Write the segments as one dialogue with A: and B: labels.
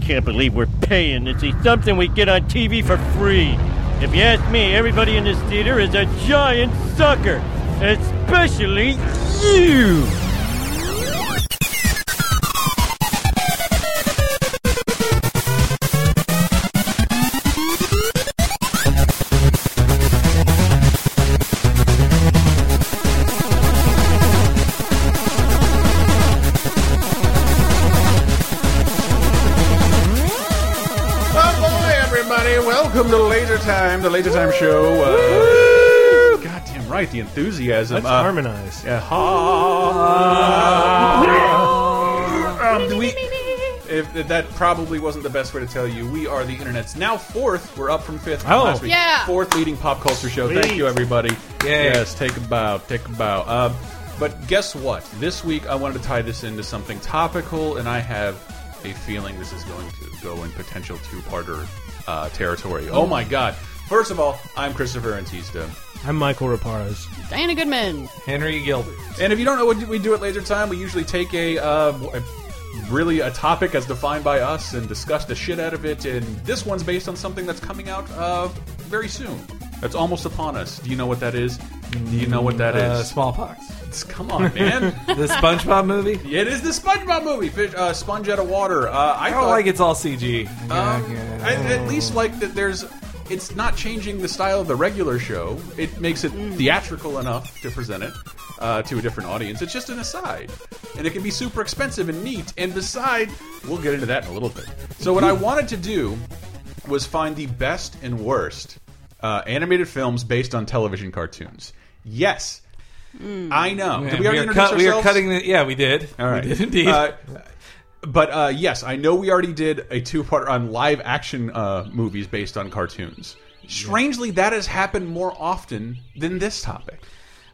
A: can't believe we're paying to see something we get on TV for free. If you ask me, everybody in this theater is a giant sucker, especially you.
B: Oh boy, everybody! Welcome to Laser Time, the Laser Time Show. Uh, goddamn right, the enthusiasm.
C: Let's
B: uh,
C: harmonize.
B: yeah. Ha- um, do we- If, if that probably wasn't the best way to tell you, we are the internet's now fourth. We're up from fifth from
C: Oh.
B: last week.
D: Yeah.
B: Fourth leading pop culture show. Thank
C: Sweet.
B: you, everybody. Yes, take a bow, take a bow. Um, but guess what? This week I wanted to tie this into something topical, and I have a feeling this is going to go in potential two-parter uh, territory. Oh my god! First of all, I'm Christopher Antista.
C: I'm Michael Raparas.
D: Diana Goodman.
E: Henry Gilbert.
B: And if you don't know what we do at Laser Time, we usually take a, uh, a really a topic as defined by us and discuss the shit out of it. And this one's based on something that's coming out uh, very soon. That's almost upon us. Do you know what that is? Do you know what that is?
E: Uh, smallpox.
B: It's- Come on, man!
E: The SpongeBob movie?
B: it is the SpongeBob movie, Fish, uh, Sponge Out of Water. Uh, I,
E: I
B: thought-
E: don't like it's all CG.
B: Um, I, at least like that. There's, it's not changing the style of the regular show. It makes it
E: Mm.
B: theatrical enough to present it uh, to a different audience. It's just an aside, and it can be super expensive and neat. And beside, we'll get into that in a little bit. So
E: Mm.
B: what I wanted to do was find the best and worst uh, animated films based on television cartoons. Yes. I know. Did
E: And
B: we already
E: are
B: introduce
E: cut- we are
B: ourselves?
E: cutting the. Yeah, we did.
B: All right.
E: We did indeed.
B: Uh, but uh, yes, I know we already did a two-part on live action uh, movies based on cartoons. Strangely, that has happened more often than this topic.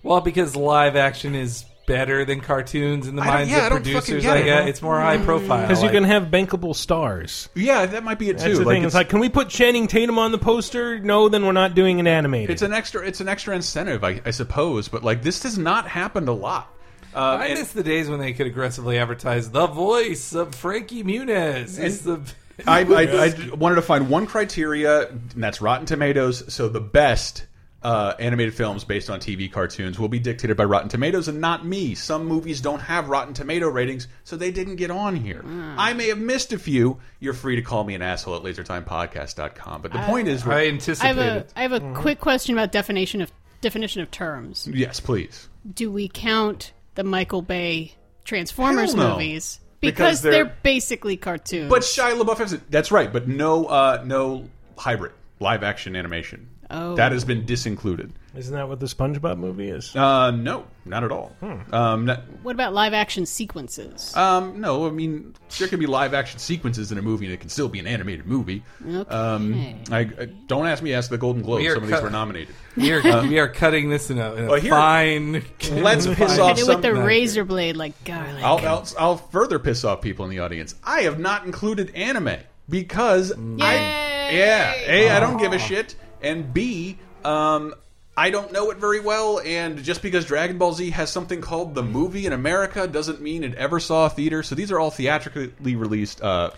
E: well, because live action is better than cartoons in the
B: don't-
E: minds
B: yeah, I
E: of
B: don't fucking
E: producers.
B: get
E: I
B: it,
E: guess.
B: huh?
E: it's more
C: Hmm.
E: high profile.
C: Because you
E: like-
C: can have bankable stars.
B: Yeah, that might be it
C: That's
B: too.
C: the thing.
B: it's-
C: It's, like, can we put Channing Tatum on the poster? No, then we're not doing an animated.
B: it's an extra, it's an extra incentive, I, I suppose. But like, this has not happened a lot. Uh,
E: I
B: and-
E: miss the days when they could aggressively advertise the voice of Frankie Muniz. Is the
B: I, I, I j- wanted to find one criteria, and that's Rotten Tomatoes. So the best uh, animated films based on TV cartoons will be dictated by Rotten Tomatoes and not me. Some movies don't have Rotten Tomato ratings, so they didn't get on here.
D: Ah.
B: I may have missed a few. You're free to call me an asshole at lasertimepodcast.com. But the point is,
E: I
D: I have
E: anticipated.
D: a I have a
B: Mm-hmm.
D: quick question about definition of definition of terms.
B: yes, please.
D: Do we count the Michael Bay Transformers
B: Hell no.
D: movies
B: Because
D: because,
B: they're-
D: they're, basically cartoons?
B: But Shia LaBeouf has it. That's right, but no, uh, no hybrid live action animation.
D: Oh.
B: That has been disincluded.
C: Isn't that what the SpongeBob movie is? Hmm.
B: Uh, no, not at all. Um, not,
D: what about live action sequences?
B: Um, no, I mean there can be live action sequences in a movie, and it can still be an animated movie.
D: Okay.
B: Um, I, I- don't ask me. Ask the Golden Globes.
E: We are
B: Some of these
E: cut-
B: were nominated. Um,
E: we, are, we are cutting this in a, in a
B: Well, here-
E: fine.
B: Let's piss
D: Hit
B: off
D: it
B: some.
D: with the razor blade like garlic.
B: I'll, I'll I'll further piss off people in the audience. I have not included anime because I
D: Yay!
B: yeah a I don't give
E: Ah.
B: a shit and b um. I don't know it very well, and just because Dragon Ball Z has something called the movie in America doesn't mean it ever saw a theater. So these are all theatrically released uh,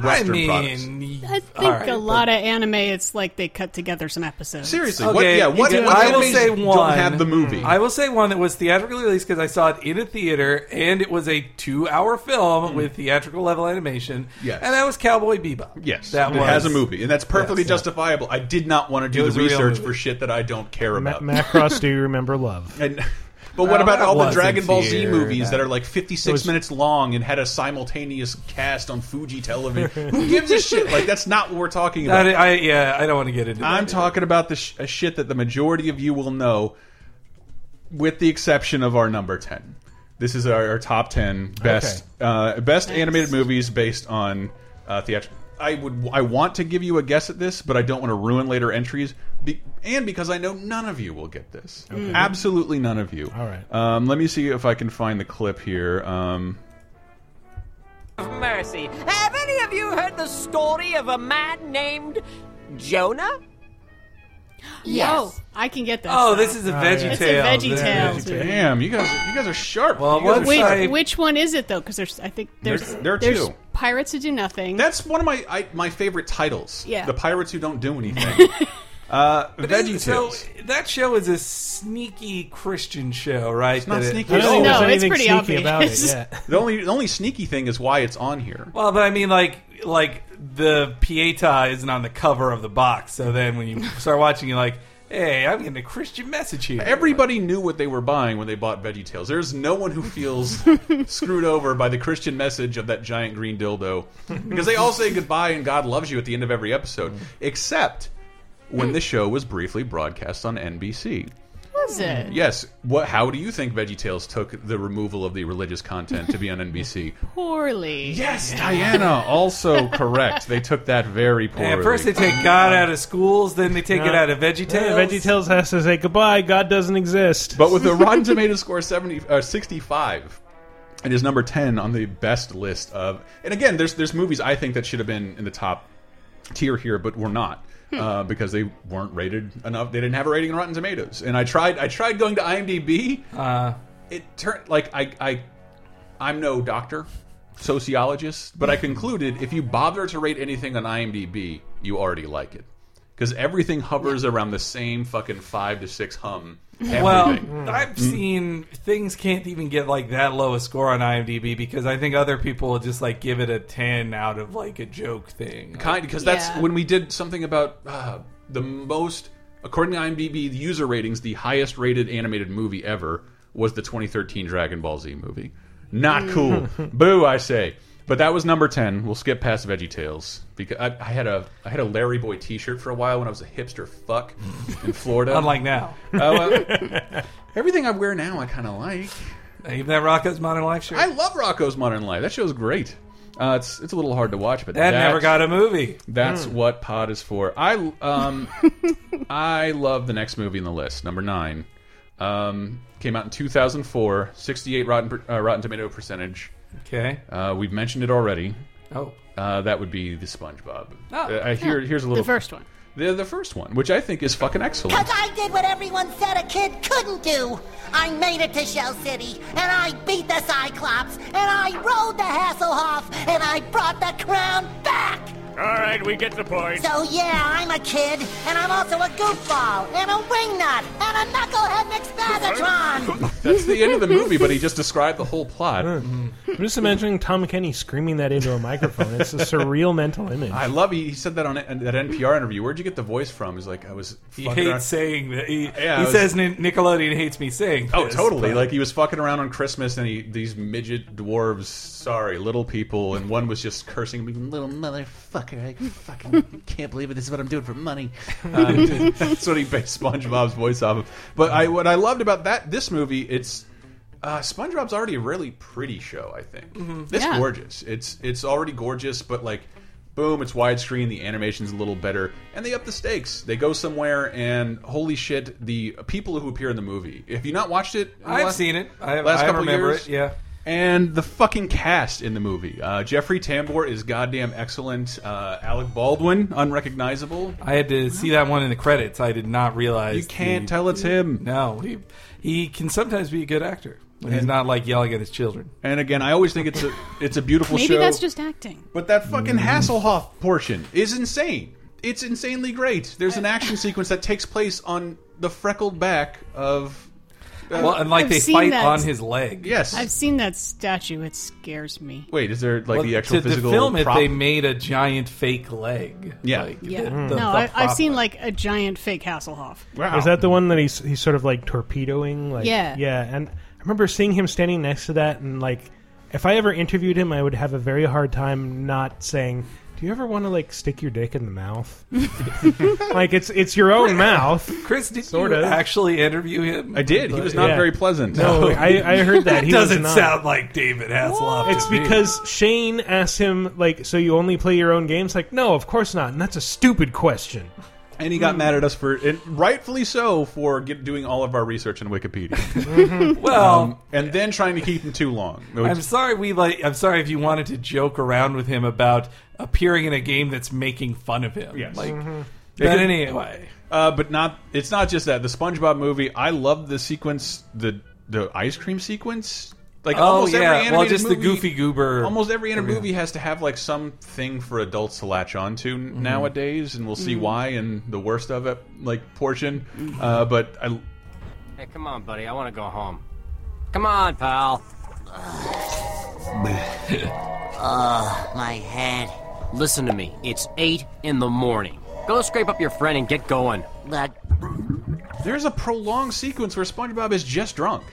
E: I
B: Western
E: mean,
B: products.
D: I think
E: all right,
D: a
E: but-
D: lot of anime, it's like they cut together some episodes.
B: Seriously,
E: Okay,
B: what? Yeah, what?
E: you-
B: what
E: I will
B: animes
E: say
B: don't
E: one.
B: have the movie.
E: I will say one that was theatrically released because I saw it in a theater, and it was a two-hour film with theatrical level animation.
B: Yes.
E: and that was Cowboy Bebop.
B: yes,
E: that
B: it
E: was
B: has a movie, and that's perfectly
E: Yes, yeah.
B: justifiable. I did not want to
E: It
B: do
E: was
B: the
E: a real
B: research
E: movie.
B: for shit that I don't care
C: Ma-
B: about.
C: Macross, do you remember love?
B: and, but what about
E: that
B: all the
E: was
B: Dragon
E: in
B: Ball Z
E: theater,
B: movies
E: that-
B: that are like 56
C: was-
B: minutes long and had a simultaneous cast on Fuji television? Who gives a shit? Like, that's not what we're talking about.
E: I, I- yeah, I don't want to get into.
B: I'm
E: that.
B: talking about the sh- a shit that the majority of you will know, with the exception of our number ten. This is our, our top ten best uh, best animated movies based on uh, theatrical. I would I want to give you a guess at this, but I don't want to ruin later entries, be, and because I know none of you will get this. Absolutely none of you.
C: All right.
B: Um, let me see if I can find the clip here. Um,
F: mercy. Have any of you heard the story of a man named Jonah?
D: Oh, I can get that.
E: Oh, this is a Veggie
D: It's a
E: Tale.
D: VeggieTales.
E: Veggie-
B: damn, you guys, you guys are sharp.
E: Well,
B: you guys are
E: what's-
B: sharp.
E: Sorry.
D: Wait, which one is it though? Because there's, I think there's
B: There- there are
D: there's
B: two.
D: pirates who do nothing.
B: That's one of my I, my favorite titles.
D: Yeah.
B: The pirates who don't do anything. uh, Veggie
E: So
B: Tales.
E: that show is a sneaky Christian show, right?
B: It's not
E: That it-
B: sneaky.
C: I don't think
B: No,
C: there's
D: it's
C: anything
D: pretty
C: sneaky
D: obvious.
C: about it. Yeah.
B: The only the only sneaky thing is why it's on here.
E: Well, but I mean, like, like the Pieta isn't on the cover of the box. So then when you start watching, you're like, hey, I'm getting a Christian message here.
B: Everybody knew what they were buying when they bought Veggie Tales. There's no one who feels screwed over by the Christian message of that giant green dildo because they all say goodbye and God loves you at the end of every episode, except when the show was briefly broadcast on NBC.
D: Was it?
B: Yes, what? How do you think Veggie Tales took the removal of the religious content to be on NBC?
D: Poorly.
B: Yes, Diana, also correct. They took that very poorly.
E: And at first they take God out of schools, then they take it out of
C: Yeah,
E: VeggieTales.
C: VeggieTales has to say goodbye. God doesn't exist.
B: but with a Rotten Tomatoes score of 70, uh, 65, it is number 10 on the best list of. And again, there's there's movies I think that should have been in the top tier here, but were not.
C: Hmm.
B: Uh, because they weren't rated enough, they didn't have a rating on Rotten Tomatoes, and I tried. I tried going to IMDb.
E: Uh.
B: it turned like I, I I'm no doctor, sociologist, but I concluded if you bother to rate anything on IMDb, you already like it because everything hovers around the same fucking five to six hum.
E: eh, Well,
B: Everything. Mm.
E: I've seen things can't even get like that low a score on IMDb because I think other people will just like give it a ten out of like a joke thing.
B: kind because that's
D: Yeah.
B: when we did something about uh, the most according to IMDb the user ratings the highest rated animated movie ever was the 2013 Dragon Ball Z movie.
E: Hmm.
B: Not cool. Boo, I say. But that was number 10. We'll skip past VeggieTales because I, I had a I had a Larry Boy t-shirt for a while when I was a hipster fuck in Florida.
E: Unlike now,
B: Uh, well, everything I wear now I kind of like.
E: even that Rocco's Modern Life show
B: I love Rocco's Modern Life. That show's great. Uh, it's it's a little hard to watch, but
E: that never
B: that's-
E: got a movie. Hmm.
B: that's what pod is for. I um, I love the next movie in the list, number nine. Um, came out in 2004, 68 Rotten per- uh, Rotten Tomato percentage.
E: Okay.
B: Uh, we've mentioned it already.
E: Oh,
B: Uh, that would be the SpongeBob.
E: Oh.
B: Uh, I hear here's a
D: The
B: little
D: first one.
B: the, the first one, which I think is fucking excellent.
G: Because I did what everyone said a kid couldn't do. I made it to Shell City, and I beat the Cyclops, and I rode the Hasselhoff, and I brought the crown back!
A: All right, we get the point.
G: So yeah, I'm a kid, and I'm also a goofball, and a wingnut, and a knucklehead McSpazatron!
B: That's the end of the movie, but he just described the whole plot.
C: I'm just imagining Tom McKenny screaming that into a microphone. It's a surreal mental image.
B: I love he, he said that on that NPR interview. Where'd you get the voice from? He's like, I was
E: he
B: fucking
E: hates
B: around-
E: saying that. He,
B: Yeah,
E: he
B: I was-
E: says Ni- Nickelodeon hates me saying.
B: Oh,
E: this,
B: totally.
E: but-
B: Like he was fucking around on Christmas, and he, these midget dwarves, sorry, little people, and one was just cursing me, little motherfucker. I fucking can't believe it. This is what I'm doing for money. Um, that's what he based SpongeBob's voice off of. But I, what I loved about that this movie, it's uh, SpongeBob's already a really pretty show. I think it's
D: Yeah.
B: gorgeous. It's it's already gorgeous, but like. Boom! It's widescreen. The animation's a little better, and they up the stakes. They go somewhere, and holy shit! The people who appear in the movie. If you not watched it, in the
E: I've
B: last-
E: seen it. I,
B: last
E: I
B: couple
E: remember
B: years.
E: it. Yeah.
B: and the fucking cast in the movie. Uh, Jeffrey Tambor is goddamn excellent. Uh, Alec Baldwin, unrecognizable.
E: I had to see that one in the credits. I did not realize
B: You can't
E: the-
B: tell it's him.
E: No, he he can sometimes be a good actor when he's not like yelling at his children.
B: And again, I always think it's a it's a beautiful
D: Maybe
B: show.
D: that's just acting.
B: but that fucking Hasselhoff portion is insane. It's insanely great. There's an action sequence that takes place on the freckled back of uh,
E: Well, and like
D: I've
E: they
D: seen
E: fight
D: that.
E: on his leg.
B: yes.
D: I've seen that statue. It scares me.
B: Wait, is there like
E: Well,
B: the actual
E: to,
B: physical
E: to film
B: prop?
E: it, they made a giant fake leg.
B: Yeah.
E: Like,
D: Yeah. Mm.
E: the- the-
D: no,
E: the
D: I, I've
E: prop
D: seen
E: leg.
D: like a giant fake Hasselhoff.
B: Hmm. wow.
C: Is that the one that he's he's sort of like torpedoing? Like
D: Yeah.
C: yeah. And I remember seeing him standing next to that, and like, if I ever interviewed him, I would have a very hard time not saying, "Do you ever want to like stick your dick in the mouth?" like it's it's your own mouth.
E: Chris, did
C: Sort
E: you
C: of.
E: actually interview him?
B: I did. He was not
C: Yeah.
B: very pleasant.
C: No, I, I heard that.
E: That
C: He was
E: doesn't
C: not.
E: sound like David Hasselhoff. to
C: It's
E: me.
C: because Shane asked him like, "So you only play your own games?" Like, no, of course not. And that's a stupid question.
B: And he
E: Hmm.
B: got mad at us for, and rightfully so, for get, doing all of our research on Wikipedia, Um,
E: well,
B: and then trying to keep him too long. It was-
E: I'm sorry we like. I'm sorry if you wanted to joke around with him about appearing in a game that's making fun of him.
B: Yes.
E: Like,
B: It
E: but
B: could-
E: anyway,
B: uh, but not. It's not just that the SpongeBob movie. I love the sequence, the the ice cream sequence. Like
E: Oh
B: almost every
E: yeah,
B: animated
E: well, just the
B: movie,
E: goofy goober.
B: Almost every animated movie has to have like something for adults to latch on to
E: Mm-hmm.
B: nowadays, and we'll see why in the worst of it, like portion.
E: Mm-hmm.
B: Uh, but I,
F: Hey, come on, buddy. I want to go home. Come on, pal.
G: My head.
F: Listen to me. It's 8 in the morning. Go scrape up your friend and get going.
G: Look,
B: there's a prolonged sequence where SpongeBob is just drunk.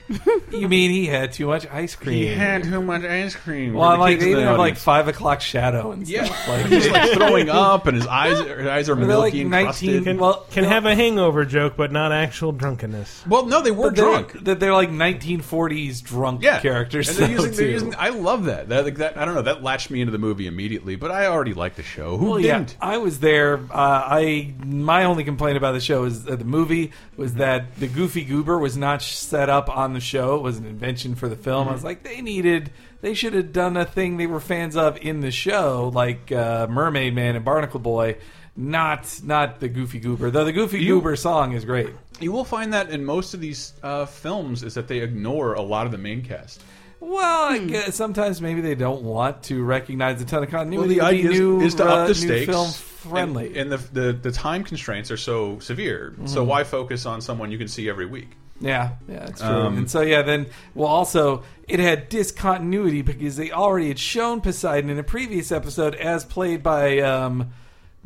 E: You mean he had too much ice cream?
B: too much ice cream.
E: Well, I'm like they even have like five o'clock shadow and
B: yeah,
E: stuff.
B: he's like throwing up, and his eyes his eyes are
E: they're, like,
B: milky and
E: 19
B: crusted.
C: Can,
E: Well,
C: can
E: no.
C: have a hangover joke, but not actual drunkenness.
B: Well, no, they were
E: But they're-
B: drunk.
E: That they're, like 1940s drunk
B: yeah,
E: characters.
B: And they're
E: though,
B: using, they're
E: too.
B: using, I love that. That, like, that. I don't know. That latched me into the movie immediately, but I already liked the show. Who
E: Well, yeah,
B: didn't?
E: I was there. Uh, I my only complaint about the show is uh, the movie
B: Mm-hmm.
E: was that the Goofy Goober was not sh- set up on the show. It was an invention for the film.
B: Mm-hmm.
E: I was like, they needed, they should have done a thing they were fans of in the show, like uh, Mermaid Man and Barnacle Boy. Not not the Goofy Goober, though. The Goofy Goober song is great.
B: You will find that in most of these uh, films is that they ignore a lot of the main cast.
E: Well,
B: Hmm.
E: I guess sometimes maybe they don't want to recognize a ton of
B: Well,
E: continuity.
B: the
E: to be
B: idea is-
E: new,
B: is, to
E: uh,
B: up
E: new
B: the stakes.
E: film friendly. Mm-hmm.
B: and, and the, the the time constraints are so severe. So why focus on someone you can see every week?
E: Yeah, yeah, that's true.
C: Um,
E: and so, yeah, then, well, also, it had discontinuity because they already had shown Poseidon in a previous episode as played by um,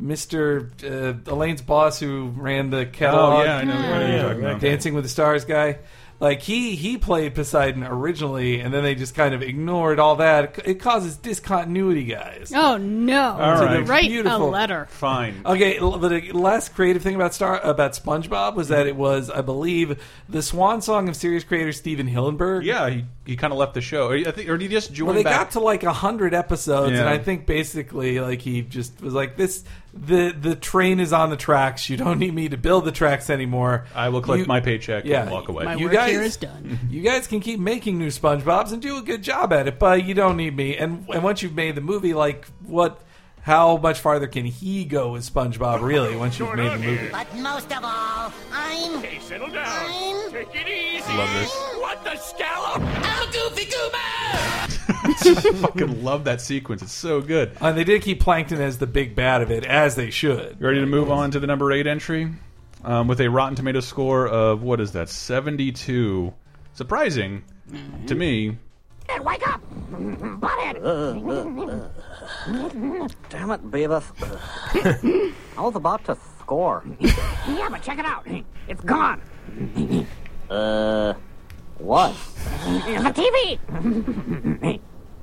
E: Mr. Uh, Elaine's boss who ran
C: Oh,
E: the catalog.
B: know
C: you're talking about.
E: Dancing with the Stars guy. Like, he, he played Poseidon originally, and then they just kind of ignored all that. It causes discontinuity, guys.
D: Oh no!
B: All right.
D: Write
E: Beautiful.
D: a letter.
B: Fine.
E: Okay, l- the last creative thing about Star about SpongeBob was that it was, I believe, the swan song of series creator Steven Hillenburg.
B: yeah, he, he kind of left the show. Or, I think, or did he just join
E: Well, they
B: back?
E: got to like hundred episodes, and
B: Yeah.
E: I think basically, like he just was like, "This the the train is on the tracks. You don't need me to build the tracks anymore.
B: I will collect
E: You-
B: my paycheck
E: yeah,
B: and walk away.
D: My
E: You
D: work
E: guys-
D: here is done.
E: You guys can keep making new SpongeBob's and do a good job at it, but you don't need me. And and once you've made the movie, like what, how much farther can he go with SpongeBob? Really, once you've made the movie,
G: but most of all, I'm.
H: Hey, settle down.
G: I'm.
H: Take it easy.
B: Love this.
H: What the scallop? I'm Goofy Goober!
B: fucking love that sequence. It's so good.
E: and they did keep Plankton as the big bad of it, as they should.
B: You ready to move on to the number eight entry? Um, with a Rotten Tomato score of, what is that, 72. Surprising to me.
I: Wake up!
J: Uh,
I: Butthead!
F: Damn it, Beavis. I was about to score.
I: Yeah, but check it out. It's gone.
J: Uh,
F: What?
I: The TV!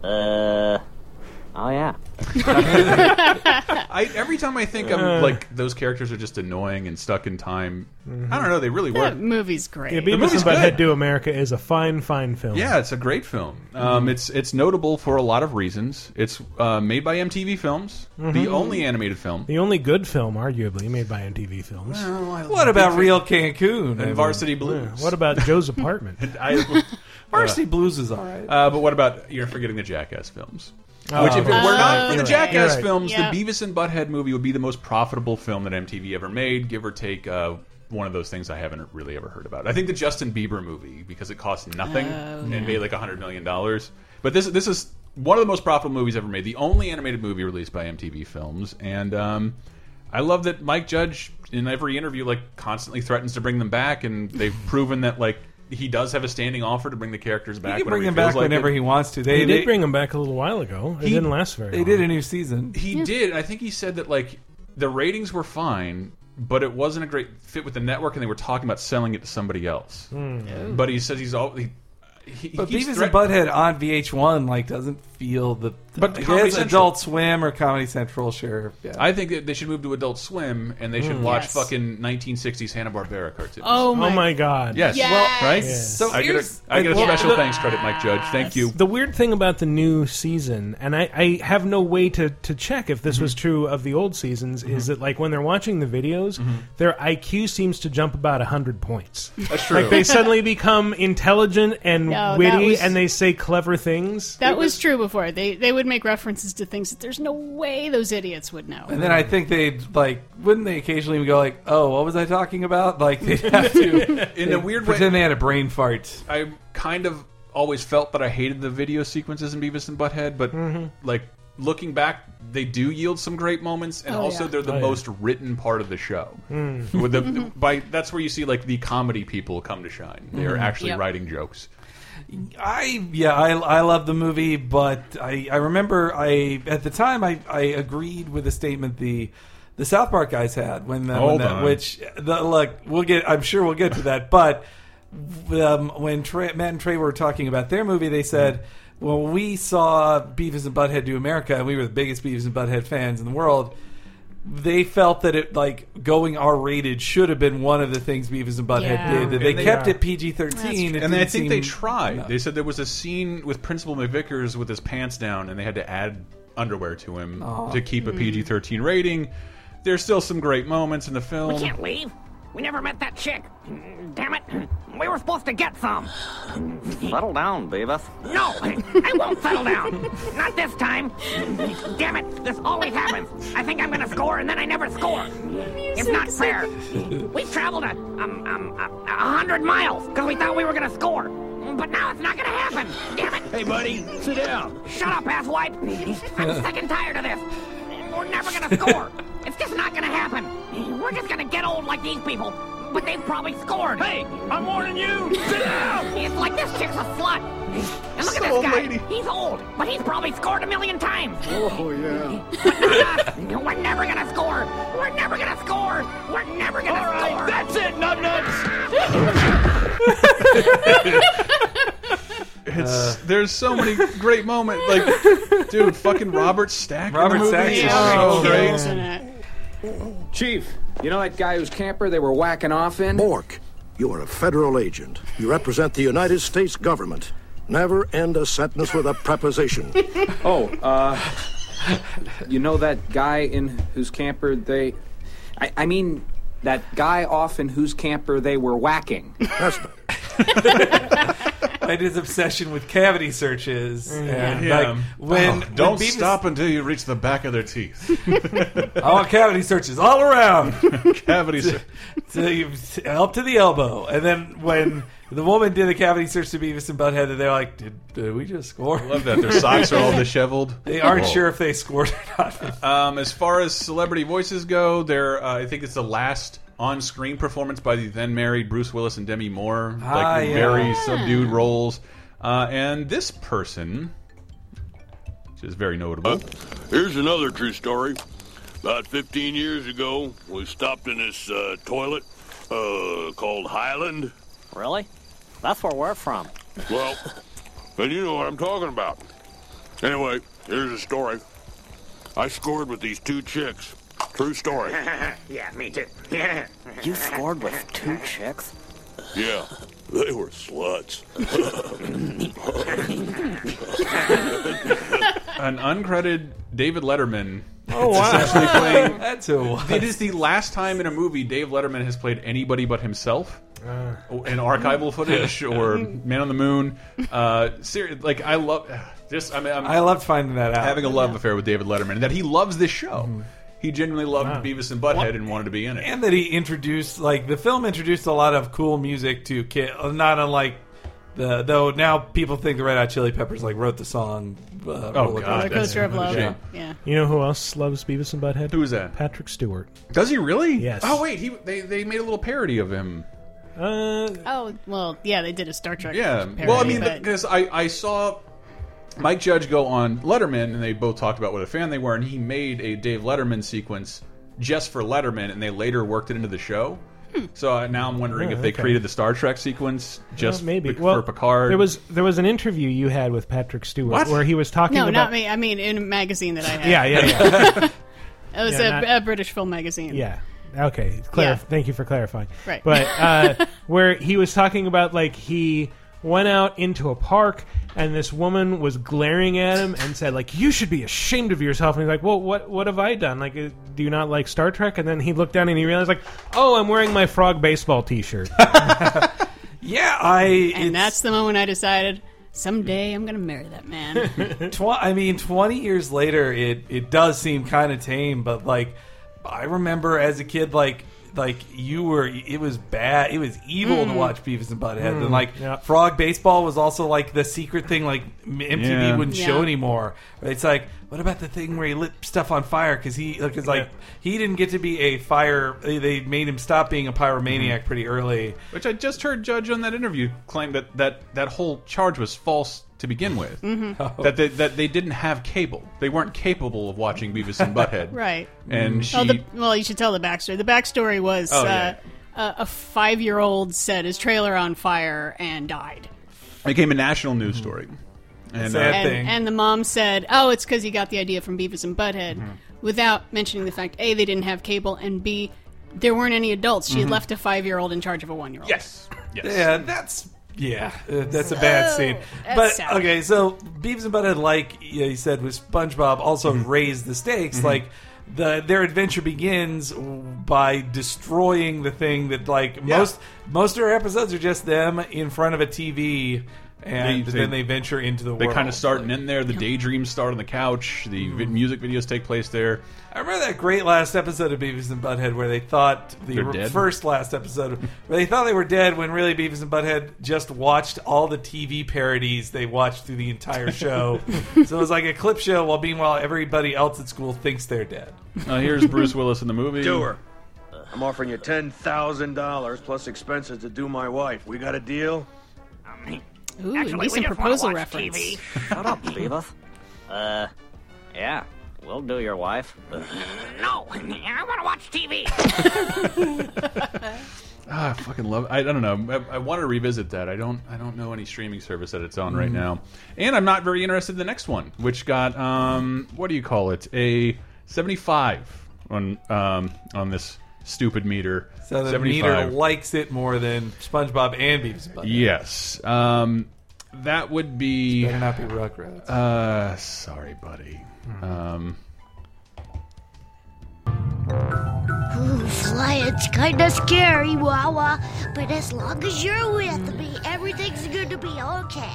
F: Oh, yeah.
B: I, every time I think
C: Uh.
B: I'm like, those characters are just annoying and stuck in time. I
C: Mm-hmm.
B: don't know, they really work.
D: That movie's great.
C: Yeah, Beavis
B: movie's
C: and Butthead
B: good.
C: Do America is a fine, fine film.
B: Yeah, it's a great film.
C: Mm-hmm.
B: Um, it's it's notable for a lot of reasons. It's uh, made by MTV Films, the
C: Mm-hmm.
B: only animated film.
C: The only good film, arguably, made by MTV Films.
E: What about real Cancun? I
B: And
E: mean,
B: Varsity Blues.
C: What about Joe's Apartment? uh,
B: I,
E: Varsity Blues is all right.
B: Uh, but what about you're forgetting the Jackass films?
C: Oh,
B: Which, if it were
C: okay.
B: not for the
C: You're right, you're
B: Jackass
C: right.
B: films,
D: Yeah.
B: the Beavis and Butthead movie would be the most profitable film that MTV ever made, give or take uh, one of those things I haven't really ever heard about. I think the Justin Bieber movie because it cost nothing
E: Oh,
B: and made like hundred million dollars. But this this is one of the most profitable movies ever made, the only animated movie released by MTV Films, and um, I love that Mike Judge in every interview like constantly threatens to bring them back, and they've proven that like. He does have a standing offer to bring the characters back.
E: He can
B: whenever
E: bring them
B: feels
E: back
B: like
E: whenever
B: it.
E: he wants to. They
C: They
E: they,
C: did bring him back a little while ago. It
E: He-
C: didn't last very
E: they
C: long.
E: did a new season.
B: He did. I think he said that like the ratings were fine, but it wasn't a great fit with the network, and they were talking about selling it to somebody else.
E: Oh.
B: But he says he's all. He, he,
E: But
B: he's
E: Beavis and
B: threat-
E: Butthead on VH1 like doesn't feel the.
B: But
E: I guess
B: Comedy Central-
E: Adult Swim or Comedy Central, sure. Yeah.
B: I think that they should move to Adult Swim and they should watch
D: Yes.
B: fucking 1960s Hanna Barbera cartoons.
D: Oh
C: Oh
D: my!
C: my god.
B: yes,
D: yes.
B: right.
E: so
B: I get a,
E: here's-
B: I get a
E: well,
B: special
E: the-
B: thanks credit, Mike Judge. Thank you.
C: The weird thing about the new season, and I, I have no way to, to check if this
B: Mm-hmm.
C: was true of the old seasons, is that like when they're watching the videos, their IQ seems to jump about hundred points.
B: Mm-hmm. That's true.
C: like they suddenly become intelligent and
D: No, that
C: witty,
D: was-
C: and they say clever things.
D: That was true before. They they would make references to things that there's no way those idiots would know.
E: And then
B: Mm.
E: I think they would like wouldn't they occasionally even go like, oh, what was I talking about? Like they have to
B: In a weird way,
E: pretend they had a brain fart.
B: I'm kind of always felt that I hated the video sequences in Beavis and Butthead, but like looking back, they do yield some great moments, and
D: Oh,
B: also
D: yeah.
B: they're the
C: yeah.
B: most written part of the show.
E: Mm-hmm.
B: With the, by that's where you see like the comedy people come to shine. They are actually
D: Mm-hmm. Yep.
B: writing jokes.
E: I yeah, I, I love the movie, but I, I remember I at the time I, I agreed with the statement the the South Park guys had when the, when
B: Hold
E: the-
B: on.
E: which the, look we'll get I'm sure we'll get to that, but um, when Trey, Matt and Trey were talking about their movie, they said. Well, we saw Beavis and Butthead do America, and we were the biggest Beavis and Butthead fans in the world they felt that it like going R rated should have been one of the things Beavis and Butthead
D: Yeah.
E: did. That they,
B: And they-
E: kept
C: Yeah.
E: it PG thirteen,
B: And I think they tried. They said there was a scene with Principal McVickers with his pants down, and they had to add underwear to him to keep
K: Hmm.
B: a PG thirteen rating. There's still some great moments in the film.
K: We can't leave. We never met that chick. Damn it. We were supposed to get some.
J: Settle down, Beavis.
K: No, I won't settle down. Not this time. Damn it. This always happens. I think I'm going to score and then I never score. It's not fair. We've traveled a, um, um, a, a hundred miles because we thought we were going to score. But now it's not going to happen. Damn it.
H: Hey, buddy, sit down.
K: Shut up, asswipe! I'm sick and tired of this. We're never gonna score. It's just not gonna happen. We're just gonna get old like these people, but they've probably scored.
H: Hey, I'm warning you. Sit down.
K: It's like this chick's a slut. And look
B: So
K: at this
B: old
K: guy.
B: lady.
K: He's old, but he's probably scored a million times.
H: Oh yeah.
K: But not us. We're never gonna score. We're never gonna score. We're never gonna
H: All
K: score.
H: right, that's it, nut nuts.
B: It's,
E: Uh.
B: there's so many great moments. Like, dude, fucking Robert Stack. in the
E: Robert
B: movie
E: Stack
B: is
E: is
B: so
E: great.
B: great.
D: Kills in it.
L: Chief, you know that guy whose camper they were whacking off in?
M: Bork, you are a federal agent. You represent the United States government. Never end a sentence with a preposition.
L: Oh, uh, you know that guy in whose camper they. I, I mean, that guy off in whose camper they were whacking.
M: That's better.
E: And his obsession with cavity searches. And,
B: Mm. Yeah.
E: like, when
B: Oh, don't
E: when Beavis-
B: stop until you reach the back of their teeth.
E: I want cavity searches all around.
B: Cavities. are-
E: so you up to the elbow, and then when the woman did a cavity search to Beavis and Butthead, and they're like, "Did, did we just score?"
B: I love that their socks are all disheveled.
E: They aren't
B: Whoa.
E: sure if they scored or not.
B: Um, as far as celebrity voices go, there uh, I think it's the last on-screen performance by the then married Bruce Willis and Demi Moore, like
E: Ah,
B: the
E: yeah.
B: very subdued roles. Uh, and this person, which is very notable,
H: Here's another true story. About 15 years ago, we stopped in this uh, toilet uh, called Highland.
J: Really? That's where we're from.
H: Well, then you know what I'm talking about. Anyway, here's the story. I scored with these two chicks. True story.
K: Yeah, me too.
J: You scored with two chicks?
H: Yeah, they were sluts.
B: an uncredited David Letterman.
E: Oh wow,
B: Actually playing
E: that's a
B: It is the last time in a movie Dave Letterman has played anybody but himself.
E: Uh.
B: Or- in archival footage or Man on the Moon. Uh, seri- like I love this. I mean, I'm
E: I loved finding that out. Mm-hmm.
B: having a love affair with David Letterman. That he loves this show. He genuinely loved Beavis and Butthead and wanted to be in it.
E: and that he introduced like the film introduced a lot of cool music to kid not unlike the though now people think the red hot chili peppers like wrote the song uh,
C: Oh,
E: Roller
B: Oh, God.
E: Coaster.
D: Roller coaster of love.
B: Yeah.
D: Yeah.
C: You know who else loves Beavis and Butthead?
B: Who is that?
C: Patrick Stewart.
B: Does he really?
C: Yes.
B: Oh wait, he they, they made a little parody of him.
C: Uh,
D: Oh well, yeah, they did a Star Trek.
B: Yeah.
D: Parody,
B: well, I mean,
D: but-
B: because I, I saw Mike Judge go on Letterman, and they both talked about what a fan they were, and he made a Dave Letterman sequence just for Letterman, and they later worked it into the show.
D: Hmm.
B: So uh, now I'm wondering
C: Yeah,
B: if they
C: okay.
B: created the Star Trek sequence just
C: well, maybe
B: for
C: well,
B: Picard.
C: There was there was an interview you had with Patrick Stewart
B: What?
C: where he was talking
D: no,
C: about
D: not me. I mean, in a magazine that I had.
C: Yeah, yeah, yeah.
D: it was
C: yeah,
D: a,
C: not-
D: a British film magazine.
C: Yeah. Okay. Clarif-
D: Yeah.
C: Thank you for clarifying.
D: Right.
C: But uh, where he was talking about, like, he went out into a park and this woman was glaring at him and said, like, you should be ashamed of yourself. And he's like, well, what, what have I done? Like, uh, do you not like Star Trek? And then he looked down and he realized, like, oh, I'm wearing my frog baseball t shirt.
E: yeah I
D: and that's the moment I decided someday I'm gonna marry that man.
E: tw- I mean, twenty years later, it it does seem kind of tame, but like I remember as a kid, like like you were. It was bad. It was evil to
K: Mm.
E: watch Beavis and Butthead.
K: Mm,
E: And like Frog Baseball was also like the secret thing. Like m- MTV
K: Yeah.
E: wouldn't
K: Yeah.
E: show anymore. It's like what about the thing where he lit stuff on fire because he like, it's like he didn't get to be a fire. They, they made him stop being a pyromaniac pretty early.
B: Mm-hmm. Which I just heard Judge on that interview claim that that, that whole charge was false to begin with.
D: Mhm. Oh.
B: That they, that they didn't have cable. They weren't capable of watching Beavis and Butthead.
D: Right.
E: Mm-hmm.
B: And she
D: Oh, the, well, you should tell the backstory. The backstory was
B: Oh,
D: uh,
B: yeah.
D: a, a five-year-old set his trailer on fire and died.
B: became a national news story. And, uh,
D: and, Mm-hmm. and the mom said, "Oh, it's because he got the idea from Beavis and Butthead,"
B: Mhm.
D: without mentioning the fact a they didn't have cable and b there weren't any adults. She had
E: Mhm.
D: left a five-year-old in charge of a one-year-old.
B: Mm-hmm. Yes.
E: Yeah, that's yeah, uh, that's a bad
D: Oh,
E: scene.
D: that's
E: But
D: sad.
E: okay, so Beavis and Butthead, like yeah, you said, with SpongeBob, also
B: Mm-hmm.
E: raised the stakes.
K: Mhm.
E: Like the their adventure begins by destroying the thing that like most most of our episodes are just them in front of a TV, and
B: They- they-
E: then they venture into the
B: They
E: world. Mm-hmm.
B: kind of start and end there. The daydreams start on the couch. The vi- music videos take place there.
E: I remember that great last episode of Beavis and Butthead where they thought the
B: They're dead?
E: first last episode where they thought they were dead when really Beavis and Butthead just watched all the TV parodies they watched through the entire show. so it was like a clip show while meanwhile everybody else at school thinks they're dead.
D: Mm-hmm.
B: Uh, here's Bruce Willis in the movie.
N: Doer. I'm offering you ten thousand dollars plus expenses to do my wife. We got a deal?
D: Ooh,
I: Actually, we
D: indecent
I: just wanna
D: proposal
I: watch
D: reference.
I: TV.
O: Shut up, Beavis. Uh, yeah, we'll do your wife.
I: No, I want to watch TV.
B: Ah, I fucking love. I, I don't know. I, I want to revisit that. I don't. I don't know any streaming service that it's on right
E: Mm-hmm.
K: Mhm.
B: now, and I'm not very interested in the next one, which got um, what do you call it? A 75 on um on this stupid meter.
E: So the
B: 75.
E: meter likes it more than SpongeBob and Beavis and Butthead.
B: Yes. Um, that would be.
E: Better not be Rugrats.
B: Uh, sorry, buddy.
E: Hmm.
B: Um,
P: Fly, it's kinda scary, Wawa. But as long as you're with me, everything's gonna be okay.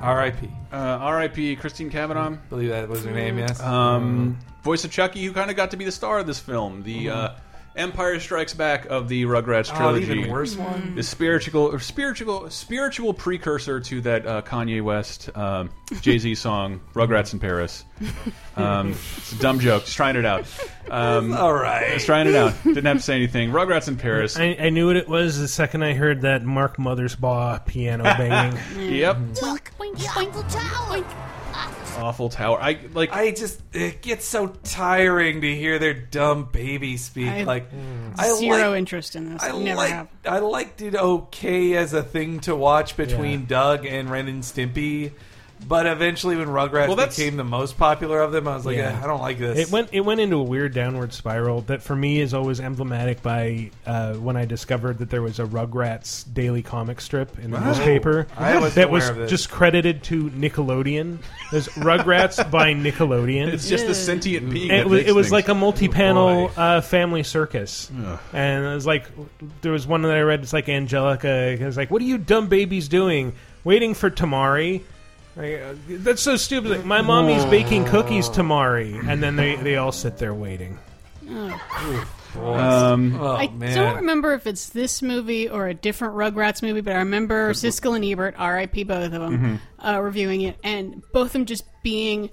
E: R.I.P.
B: Uh, R.I.P. Christine Cavanaugh.
E: believe that was her name. Yes. Mm-hmm.
B: Um, voice of Chucky, who kind of got to be the star of this film. The uh, Empire Strikes Back of the Rugrats
E: Oh,
B: trilogy.
E: even worse one.
B: The spiritual, or spiritual, spiritual precursor to that uh, Kanye West, um, Jay Z song "Rugrats in Paris." Um, it's a dumb joke. Just trying it out. Um,
E: All right.
B: Just trying it out. Didn't have to say anything. Rugrats in Paris.
C: I, I knew what it was the second I heard that Mark Mothersbaugh piano banging.
B: Yep.
P: Look, the Eiffel Tower.
B: Awful Tower. I like.
E: I just it gets so tiring to hear their dumb baby speak.
D: I- Mm.
E: like
D: zero
E: like-
D: interest in this.
E: I
D: Never
E: like
D: have.
E: I liked it okay as a thing to watch between Doug and Ren and Stimpy, but eventually when Rugrats
C: Well, that's-
E: became the most popular of them, I was like, "Eh, I don't like this.
C: It went it went into a weird downward spiral that for me is always emblematic by uh, when I discovered that there was a Rugrats daily comic strip in the
E: Wow.
C: newspaper
E: I wasn't
C: that
E: aware
C: was
E: of this.
C: just credited to Nickelodeon. There's Rugrats by Nickelodeon.
B: It's just the sentient being
C: And
B: that
C: it was,
B: makes
C: it was
B: things.
C: like a
E: Oh,
C: multi-panel uh, family circus,
B: Ugh.
C: and it was like there was one that I read. It's like Angelica. It was like, "What are you dumb babies doing? Waiting for Tamari." Like, uh, That's so stupid. Like, my mommy's baking cookies, Tamari, and then they, they all sit there waiting.
D: Oh.
B: Um,
E: oh
D: I don't remember if it's this movie or a different Rugrats movie, but I remember Siskel and Ebert, R.I.P. both of them,
B: Mm-hmm.
D: uh, reviewing it, and both of them just being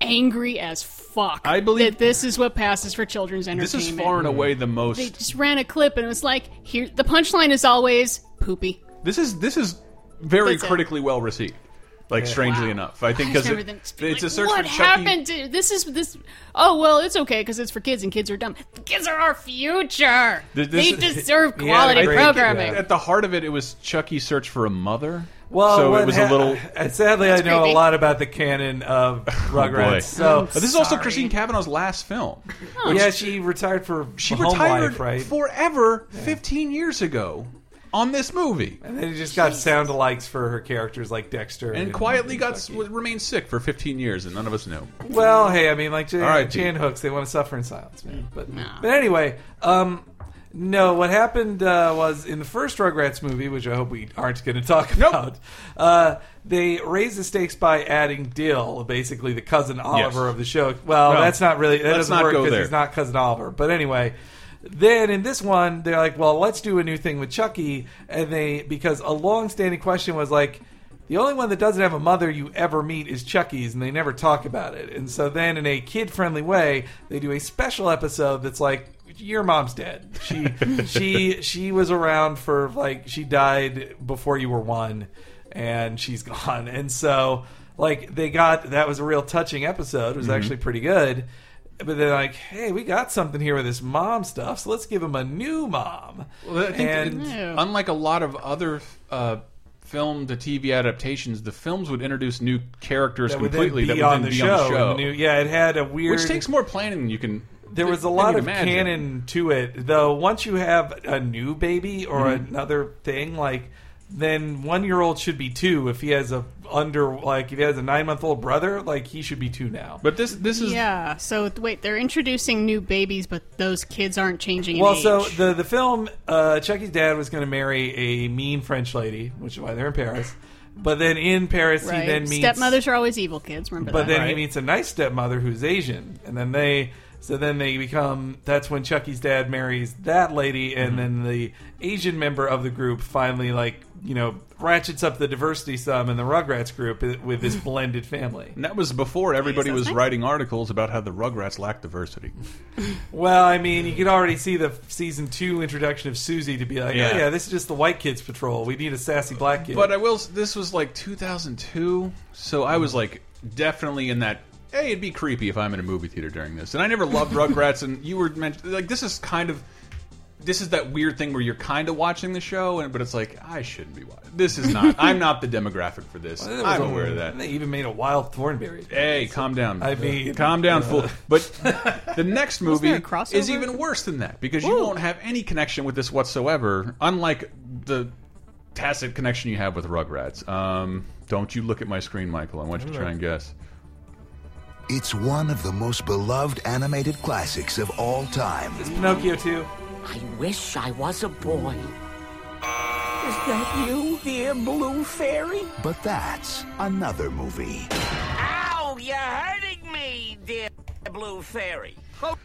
D: angry as fuck. I believe that this is what passes for children's entertainment.
B: This is far and away the most.
D: They just ran a clip, and it was like, here. The punchline is always poopy.
B: This is this is very
D: That's it.
B: critically well received. Like strangely enough, I think
D: I
B: because
D: remember
B: it,
D: them just
B: it's
D: being like, E.
B: a search
D: what
B: for E. Chucky.
D: happened to this is this oh well it's okay because it's for kids and kids are dumb kids are our future
B: Th-
D: they
B: this-
D: deserve
B: Yeah,
D: quality
B: I think
D: programming
B: At the heart of it, it was Chucky's search for a mother.
E: Well,
B: so it
E: what
B: was a
E: ha-
B: little.
E: uh, Sadly, I know a lot about the canon of Rugrats.
B: boy.
E: so
B: Oh, this is also
E: sorry.
B: Christine Cavanaugh's last film.
E: Oh. Yeah, she retired for
B: she
E: home
B: retired
E: life, right?
B: forever, fifteen years ago, on this movie,
E: and then it just got sound alikes for her characters like Dexter E.
B: and quietly got s- remained sick for fifteen years, and none of us knew.
E: Well, hey, I mean, like Jan,
B: All right,
E: Jan Hooks, they want to suffer in silence, man. But, but anyway, um, no, what happened uh, was in the first Rugrats movie, which I hope we aren't going to talk about, uh, they raised the stakes by adding Dill, basically the cousin Oliver of the show. Well,
K: No.
E: that's not really that
K: Let's
E: doesn't
K: not
E: work
K: go
E: because
K: there.
E: he's not cousin Oliver. But anyway, Then in this one, they're like, well, let's do a new thing with Chucky, and they because a long-standing question was like. The only one that doesn't have a mother you ever meet is Chucky's, and they never talk about it. And so then, in a kid-friendly way, they do a special episode that's like, "Your mom's dead. She she she was around for like she died before you were one, and she's gone." And so, like, they got that was a real touching episode. It was
K: Mhm.
E: actually pretty good. But they're like, "Hey, we got something here with this mom stuff, so let's give him a new mom."
B: Well, I think
E: and
B: it- unlike a lot of other uh, film to TV adaptations, the films would introduce new characters
E: That would then
B: completely
E: be
B: that would
E: on
B: then
E: the
B: be on the
E: show,
B: show.
E: and the new- yeah, it had a weird-
B: which takes more planning than you can.
E: there was a
B: than
E: lot
B: you'd
E: of
B: imagine.
E: canon to it though once you have a new baby or
B: Mhm.
E: another thing like then one year old should be two if he has a under like if he has a nine month old brother like he should be two now but
B: this this
D: yeah. So th- wait, they're introducing new babies, but those kids aren't changing.
E: well
D: in
E: so
D: age.
E: the the film uh chucky's dad was going to marry a mean french lady which is why they're in paris but then in paris
D: right?
E: he then meets
D: stepmothers are always evil kids. Remember
E: But
D: that.
E: then he meets a nice stepmother who's Asian, and then they so then they become. That's when Chucky's dad marries that lady, and
B: Mm-hmm.
E: then the Asian member of the group finally like you know ratchets up the diversity some in the Rugrats group i- with this blended family.
B: And that was before everybody was
E: nice.
B: writing articles about how the Rugrats lack diversity.
E: Well, I mean, you could already see the season two introduction of Susie to be like,
B: Yeah.
E: oh yeah, this is just the white kids patrol. We need a sassy black kid.
B: But I will. s- This was like 2002, so I was like definitely in that. Hey, it'd be creepy if I'm in a movie theater during this. And I never loved Rugrats, and you were meant like this is kind of this is that weird thing where you're kind of watching the show, and but it's like I shouldn't be watching. This is not. I'm not the demographic for this.
E: Well, there was
B: I'm
E: a-
B: aware of that.
E: They even made a wild Thornberry.
B: Hey, calm down.
E: I mean-
B: calm down,
E: Uh.
B: fool. But the next movie
E: there a
B: is
E: crossover?
B: even worse than that because you won't have any connection with this whatsoever. Unlike the tacit connection you have with Rugrats. Um, don't you look at my screen, Michael? I want you to try and guess.
Q: It's one of the most beloved animated classics of all time. It's
E: Pinocchio too.
Q: I wish I was a boy.
F: Is that you, dear blue fairy?
Q: But that's another movie.
F: Ow, you're hurting me, dear blue fairy. Oh,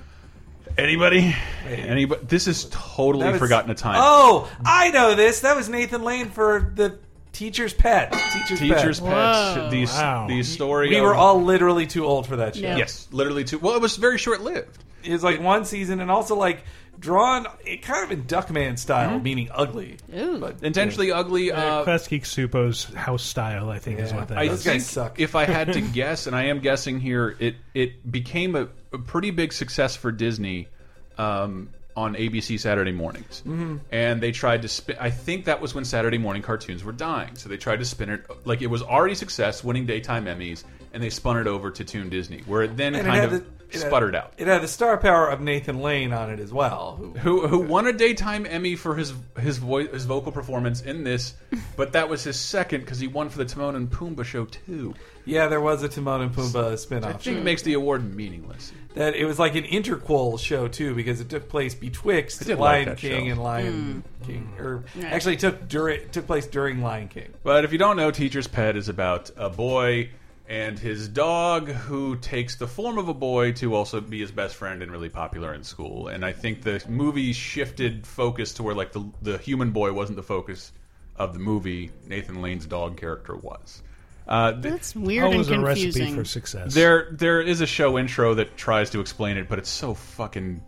B: Anybody? Anybody? This is totally
E: That was-
B: forgotten a time.
E: Oh, I know this. That was Nathan Lane for the teacher's pet. Teacher's,
B: Teacher's
E: pet.
B: pets. The, the story.
E: We
B: of-
E: were all literally too old for that show.
B: Yeah. Yes, literally too. Well, it was very short lived.
E: It was like one season, and also like drawn, it kind of in Duckman style, meaning ugly.
D: Ooh.
B: Intentionally ugly. Uh,
C: Classic Supo's house style, I think, is what that
B: I
C: is.
B: think if I had to guess, and I am guessing here, it it became a, a pretty big success for Disney um, on ABC Saturday mornings,
E: Mhm.
B: and they tried to spin. I think that was when Saturday morning cartoons were dying, so they tried to spin it like it was already success, winning daytime Emmys, and they spun it over to Toon Disney, where it then
E: And it
B: kind
E: had
B: of
E: the- it had-
B: sputtered out.
E: It had the star power of Nathan Lane on it as well. Who,
B: who who won a daytime Emmy for his his voice his vocal performance in this, but that was his second because he won for the Timon and Pumbaa show too.
E: Yeah, there was a Timon and Pumbaa spin
B: I
E: off.
B: think it makes the award meaningless.
E: that it was like an interquel show too because it took place betwixt
B: I did like
E: Lion
B: that
E: King
B: show.
E: and Lion King, or
B: Yeah.
E: actually it took during took place during Lion King.
B: But if you don't know, Teacher's Pet is about a boy and his dog who takes the form of a boy to also be his best friend and really popular in school. And I think the movie shifted focus to where like the the human boy wasn't the focus of the movie. Nathan Lane's dog character was. Uh, th-
D: That's weird and confusing.
B: There, there is a show intro that tries to explain it, but it's so fucking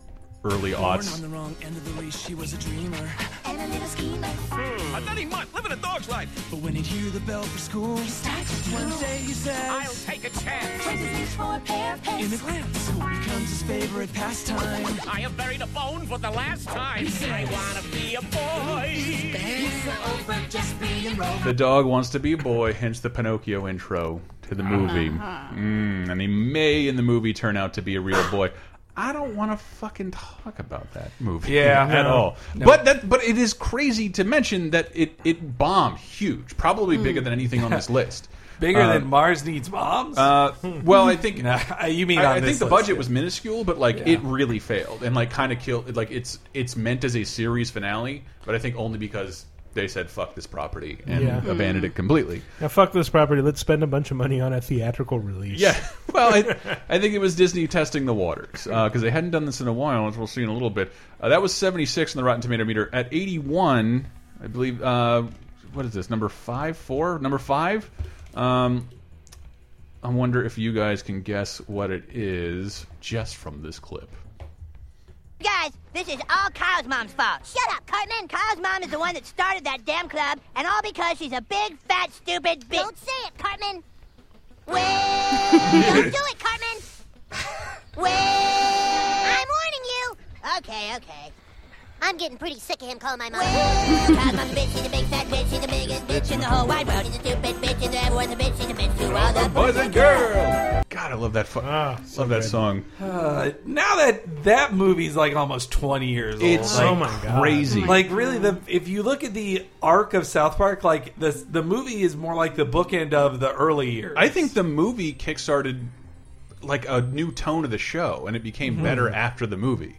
B: early aughts.
J: the wrong end of the race, she was a dreamer. And a little schemer.
I: Hmm.
J: A nutty mutt living a dog's life. But when he'd hear the bell for school, he starts one day he says, I'll take a chance. In a glance, school becomes his favorite pastime.
I: I have buried a bone for the last time.
J: I
I: wanna be a boy.
B: The dog wants to be a boy, hence the Pinocchio intro to the movie.
I: Uh-huh.
B: Mm, and he may in the movie turn out to be a real boy. I don't want to fucking talk about that movie
E: Yeah,
B: at
E: no.
B: all.
E: No.
B: But that, but it is crazy to mention that it it bombed huge, probably
E: Mm.
B: bigger than anything on this list.
E: Bigger
B: Uh,
E: than Mars needs moms.
B: Uh, well, I think
E: you mean
B: I,
E: on
B: I think
E: this
B: the
E: list,
B: budget
E: yeah.
B: was minuscule, but like
E: Yeah.
B: it really failed and like kind of killed. Like it's it's meant as a series finale, but I think only because they said fuck this property and
C: Yeah.
B: abandoned
E: Hmm.
B: it completely.
C: Now fuck this property. Let's spend a bunch of money on a theatrical release.
B: Yeah. Well, I, I think it was Disney testing the waters because they hadn't done this in a while, as we'll see in a little bit. Uh, that was 76 on the Rotten Tomato meter. At 81, I believe, uh, what is this, number five, four? Number five? Um, I wonder if you guys can guess what it is just from this clip.
K: Guys, this is all Kyle's mom's fault. Shut up, Cartman. Kyle's mom is the one that started that damn club, and all because she's a big, fat, stupid bitch. Don't say it, Cartman. Well, don't do it, Cartman. Well, I'm warning you. Okay, okay.
P: I'm getting pretty sick of him calling my mom.
K: Kyle's mom's a bitch. She's a big fat bitch. She's the biggest bitch in the whole wide world. She's a stupid bitch. She's everyone's a bitch. She's a bitch to all the
B: Boys and girls! God, I love that, fu- love that song.
E: Uh, now that that movie's like almost twenty years old,
B: It's
E: like,
B: Oh my God. crazy.
E: Like really, the if you look at the arc of South Park, like the the movie is more like the bookend of the early years.
B: I think the movie kickstarted like a new tone of the show, and it became
E: Mhm.
B: better after the movie.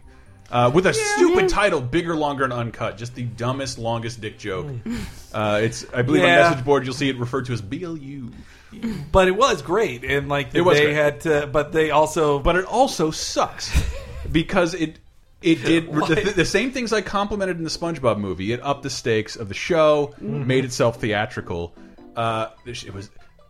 B: Uh, with a stupid title, bigger, longer, and uncut. Just the dumbest, longest dick joke. Uh, it's, I believe,
E: Hmm. Yeah.
B: on message board you'll see it referred to as BLU.
E: but it was great, and like
B: It was
E: they
B: great.
E: had to, but they also,
B: but it also sucks because it it did the, the same things I complimented in the SpongeBob movie. It upped the stakes of the show,
E: Mhm.
B: made itself theatrical. Uh, this- it was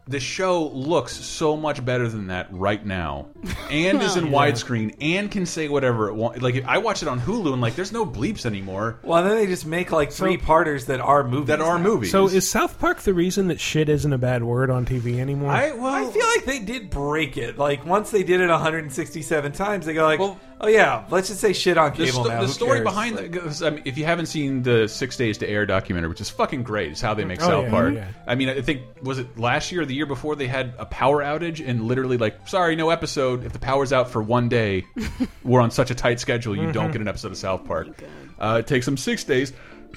B: the show looks so much better than that right now, and is in
E: Well, yeah.
B: widescreen, and can say whatever it wants. Like I watch it on Hulu, and like there's no bleeps anymore.
E: Well, then they just make like three parters that are movies.
B: That are
E: now.
B: movies.
C: So is South Park the reason that shit isn't a bad word on TV anymore?
E: I, well, I feel like they did break it. Like once they did it 167 times, they go like, "Oh yeah, let's just say shit on
B: The, sto-
E: cable now."
B: the
E: Who
B: story
E: cares?
B: behind
E: Like-
B: the, 'cause, I mean, if you haven't seen the Six Days to Air documentary, which is fucking great, it's how they make
E: Oh,
B: South
E: yeah,
B: Park.
E: yeah.
B: I mean, I think was it last year or the year before they had a power outage and literally like, sorry, no episode. If the power's out for one day, we're on such a tight schedule, you don't
E: Mhm.
B: get an episode of South Park. Uh, it takes them six days,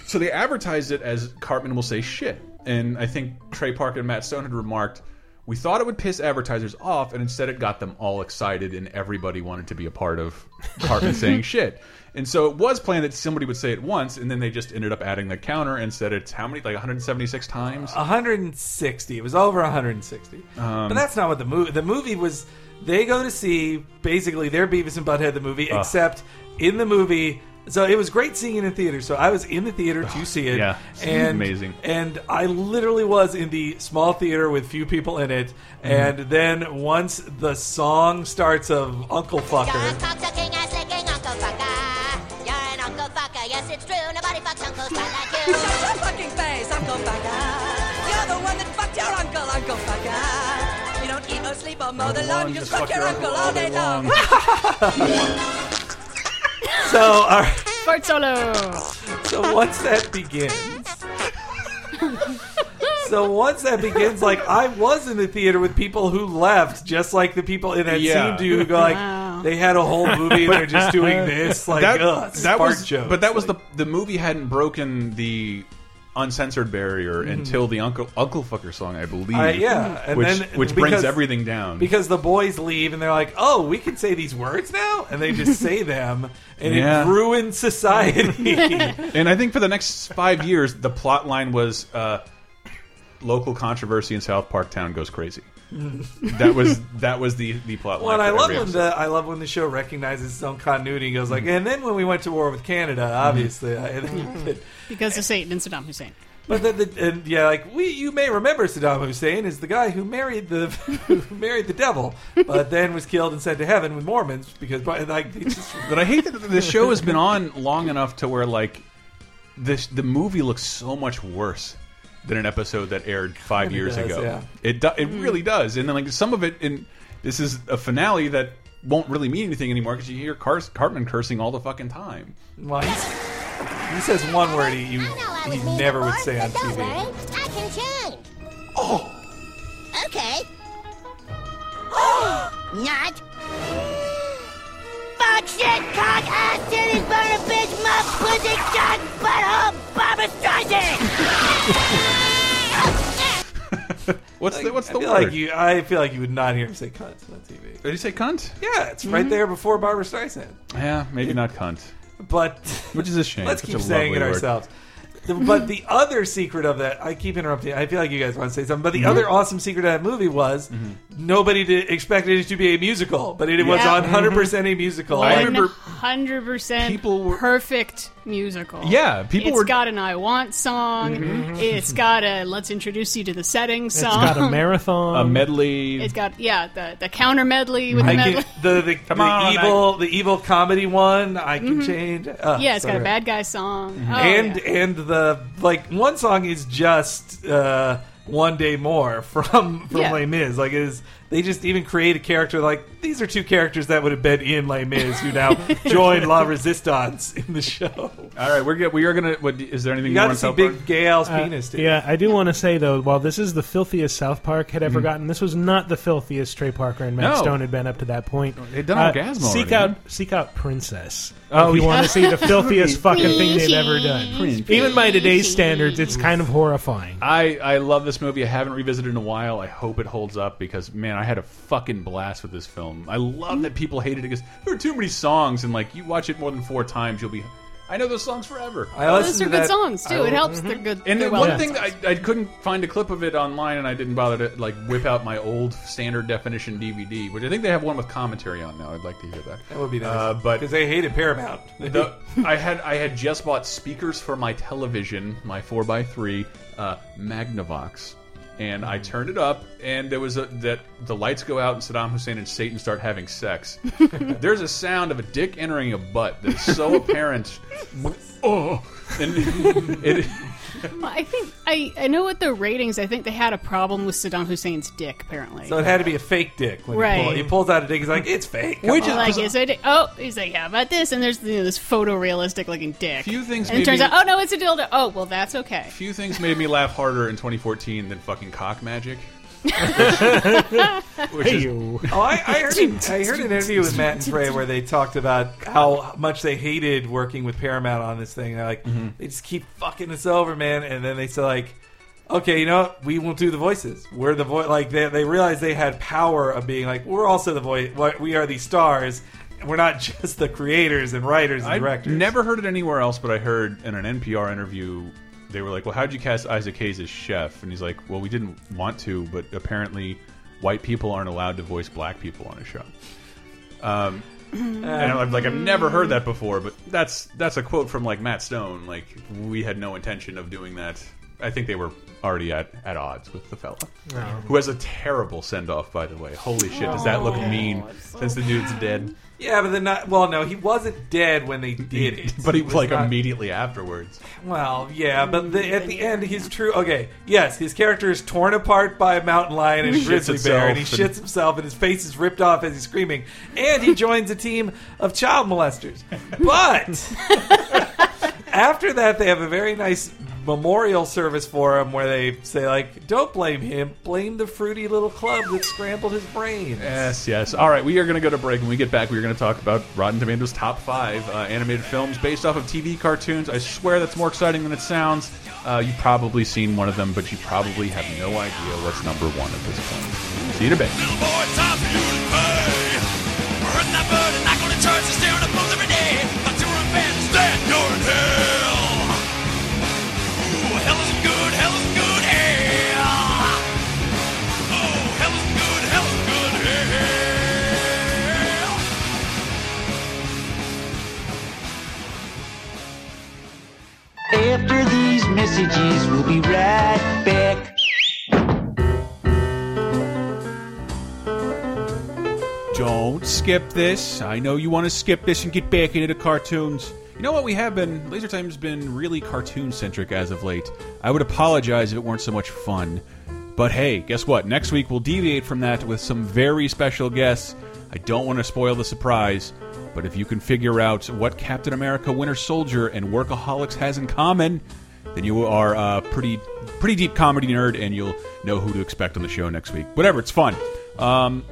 B: so they advertised it as Cartman will say shit, and I think Trey Parker and Matt Stone had remarked. We thought it would piss advertisers off, and instead it got them all excited, and everybody wanted to be a part of Cartman saying shit. And so it was planned that somebody would say it once, and then they just ended up adding the counter and said it's how many, like 176 times?
E: 160. It was over 160.
B: Um,
E: but that's not what the movie. The movie was they go to see basically their Beavis and Butthead the movie,
B: Ugh.
E: except in the movie. So it was great seeing it in theater. So I was in the theater to see it.
B: yeah.
E: and
B: Amazing.
E: And I literally was in the small theater with few people in it.
B: Mm-hmm.
E: And then once the song starts of Uncle Fucker,
K: cocksucking, ass-licking Uncle Fucker. You're an Uncle Fucker. Yes, it's true. Nobody fucks Uncle Fucker like you. Shut your fucking face, Uncle Fucker. You're the one that fucked your uncle, Uncle Fucker. You don't eat or sleep or mow the lawn. You just fuck your uncle all day long.
E: so all right,
D: Fart solo.
E: so once that begins. So once that begins, like I was in the theater with people who left, just like the people in that
B: Yeah.
E: scene do, who go like
B: Wow.
E: they had a whole movie and they're just doing this, like
B: that,
E: ugh,
B: that
E: spark
B: was,
E: jokes.
B: But that was the the movie hadn't broken the uncensored barrier
E: Mhm.
B: until the Uncle Uncle Fucker song, I believe.
E: Uh, yeah, and
B: which,
E: then
B: Mm. which brings
E: because-
B: everything down.
E: because the boys leave and they're like, "Oh, we can say these words now," and they just say them, and
B: Yeah.
E: it ruins society.
B: and I think for the next five years, the plot line was uh, local controversy in South Park Town goes crazy.
E: Mm.
B: that was that was the the plot
E: Well,
B: line.
E: and I
B: for
E: love
B: every
E: when
B: episode.
E: the I love when the show recognizes its own continuity and goes like,
B: Mm.
E: and then when we went to war with Canada, obviously, I- and then-
D: Because of Satan and Saddam Hussein.
E: But the, the, and yeah, like we, you may remember Saddam Hussein is the guy who married the who married the devil, but then was killed and sent to heaven with Mormons because but, like they just,
B: But I hate that the show has been on long enough to where like this the movie looks so much worse than an episode that aired five
E: Kinda
B: years
E: does,
B: ago.
E: yeah.
B: It do, it
E: Mm.
B: really does, and then like some of it in this is a finale that won't really mean anything anymore because you hear Car Cartman cursing all the fucking time.
E: Well, he's- he says one word he you, he never would say on
K: Don't
E: TV.
K: worry, I can change. Oh. Okay. Not. Fuck shit, cock, ass, titties, butter, bitch, muff, pussy, cock, butthole, Barbra Streisand.
B: What's the what's
E: I
B: the
E: feel
B: word?
E: Like you, I feel like you would not hear him say cunt on TV.
B: Did he say cunt?
E: Yeah, it's
K: Mm-hmm.
E: right
B: Mhm.
E: there before Barbara Streisand.
B: yeah, maybe not cunt.
E: But
B: Which is a shame.
E: Let's
B: Such
E: keep
B: a
E: saying
B: lovely
E: it
B: word.
E: ourselves. The- but the other secret of that, I keep interrupting. I feel like you guys want to say something. But
B: Mm-hmm.
E: the other awesome secret of that movie was nobody did, expected it to be a musical, but it, was
D: Yeah.
B: Mm-hmm.
E: 100 percent a musical. Like-
D: One hundred percent perfect musical.
E: Yeah, people
D: It's
E: were- Mm-hmm.
D: got an "I Want" song. It's got a "Let's introduce you to the setting"
C: It's
D: song.
C: got a marathon,
B: a medley.
D: It's got yeah the the counter medley with
E: I
D: the
E: can-
D: medley.
E: the the, the
C: on,
E: evil the evil comedy one I can
D: Mhm.
E: change. Uh,
D: yeah, it's got a
E: sorry. Mm-hmm.
D: bad guy song. Oh,
E: and
D: yeah.
E: and the like one song is just uh, one day more from from
D: Yeah.
E: Les Mis. Like it is they just even create a character like these are two characters that would have been in Les Mis who now join La Resistance in the show.
B: All right, we're get, we are gonna. What, is there anything
E: You
B: you,
E: got
B: want
E: to
B: to
E: see
B: tell?
E: Big Gail's
C: Uh,
E: penis. Dude.
C: yeah, I do want to say though, while this is the filthiest South Park had ever
B: Mm-hmm.
E: Mhm.
C: gotten, this was not the filthiest Trey Parker and Matt
E: No.
C: Stone had been up to that point. Uh,
B: They'd done
E: Uh,
B: Orgasmo
C: Seek
B: already,
C: out, seek out Princess.
B: Oh,
C: if you
B: yeah.
C: want to see the filthiest fucking thing they've ever
B: Princess.
C: done, even by today's standards, it's kind of horrifying.
B: I, I love this movie. I haven't revisited in a while. I hope it holds up because man, I had a fucking blast with this film. I love that people hated it because there are too many songs and like you watch it more than four times, you'll be. I know those songs forever.
E: I
D: Well, Oh, those are good songs too. it helps.
G: Mm-hmm.
D: They're good.
B: And
D: they're
B: the
D: well
B: one
D: done
B: thing
D: songs.
B: that I, I couldn't find a clip of it online, and I didn't bother to like whip out my old standard definition DVD, which I think they have one with commentary on now. I'd like to hear that.
E: That would be nice.
B: Uh, but
E: because they hated Paramount.
B: the, I had I had just bought speakers for my television, my four x three uh, Magnavox, and I turned it up, and there was a that the lights go out, and Saddam Hussein and Satan start having sex. There's a sound of a dick entering a butt that's so apparent. oh, and it,
D: I think I, I know what the ratings. I think they had a problem with Saddam Hussein's dick. Apparently,
E: So it had to be a fake dick. When
D: Right.
E: he, pull, he pulls out a dick. He's like, it's fake. Come on."
D: like is it? Oh, he's like, how about this? And there's you know, this photorealistic looking dick.
B: Few things
D: and it turns
B: maybe-
D: out, oh no, it's a dildo. Oh well, that's okay.
B: few things made me laugh harder in 2014 than fucking cock magic. Which is-
E: Oh, I, I heard I heard an interview with Matt and Trey where they talked about how much they hated working with Paramount on this thing. They're like, they just keep fucking us over, man. And then they said, like, okay, you know what? We won't do the voices. We're the voice. Like, they, they realized they had power of being like, we're also the voice. We are the stars. We're not just the creators and writers and
B: I
E: directors.
B: never heard it anywhere else, but I heard in an NPR interview they were like, "Well, how'd you cast Isaac Hayes as chef?" And he's like, "Well, we didn't want to, but apparently, white people aren't allowed to voice black people on a show." Um, and I'm like, I've never heard that before, but that's that's a quote from like Matt Stone. Like, we had no intention of doing that. I think they were already at at odds with the fella,
E: Oh.
B: who has a terrible send off, by the way. Holy shit, does that look
E: Oh,
B: mean? since the dude's dead.
E: Yeah, but then not. Well, no, he wasn't dead when they did it.
B: But he
E: was
B: like
E: not-
B: immediately afterwards.
E: Well, yeah, but the, at the end, he's true. Okay, yes, his character is torn apart by a mountain lion and a
B: Shits
E: grizzly bear, and he
B: himself and-
E: shits himself, and his face is ripped off as he's screaming, and he joins a team of child molesters. But after that, they have a very nice memorial service for him where they say, like, don't blame him, blame the fruity little club that scrambled his brain.
B: Yes, yes. All right, we are going to go to break. When we get back, we're going to talk about Rotten Tomatoes' top five uh, animated films based off of TV cartoons. I swear that's more exciting than it sounds. Uh, you've probably seen one of them, but you probably have no idea what's number one at this point. See you in a bit.
J: eh? Oh, eh?
R: After these messages, we'll be right back.
B: Don't skip this. I know you want to skip this and get back into the cartoons. You know what we have been? Laser Time's been really cartoon centric as of late. I would apologize if it weren't so much fun. But hey, guess what? Next week we'll deviate from that with some very special guests. I don't want to spoil the surprise, but if you can figure out what Captain America Winter Soldier and Workaholics has in common, then you are a pretty pretty deep comedy nerd and you'll know who to expect on the show next week. Whatever, it's fun. Um,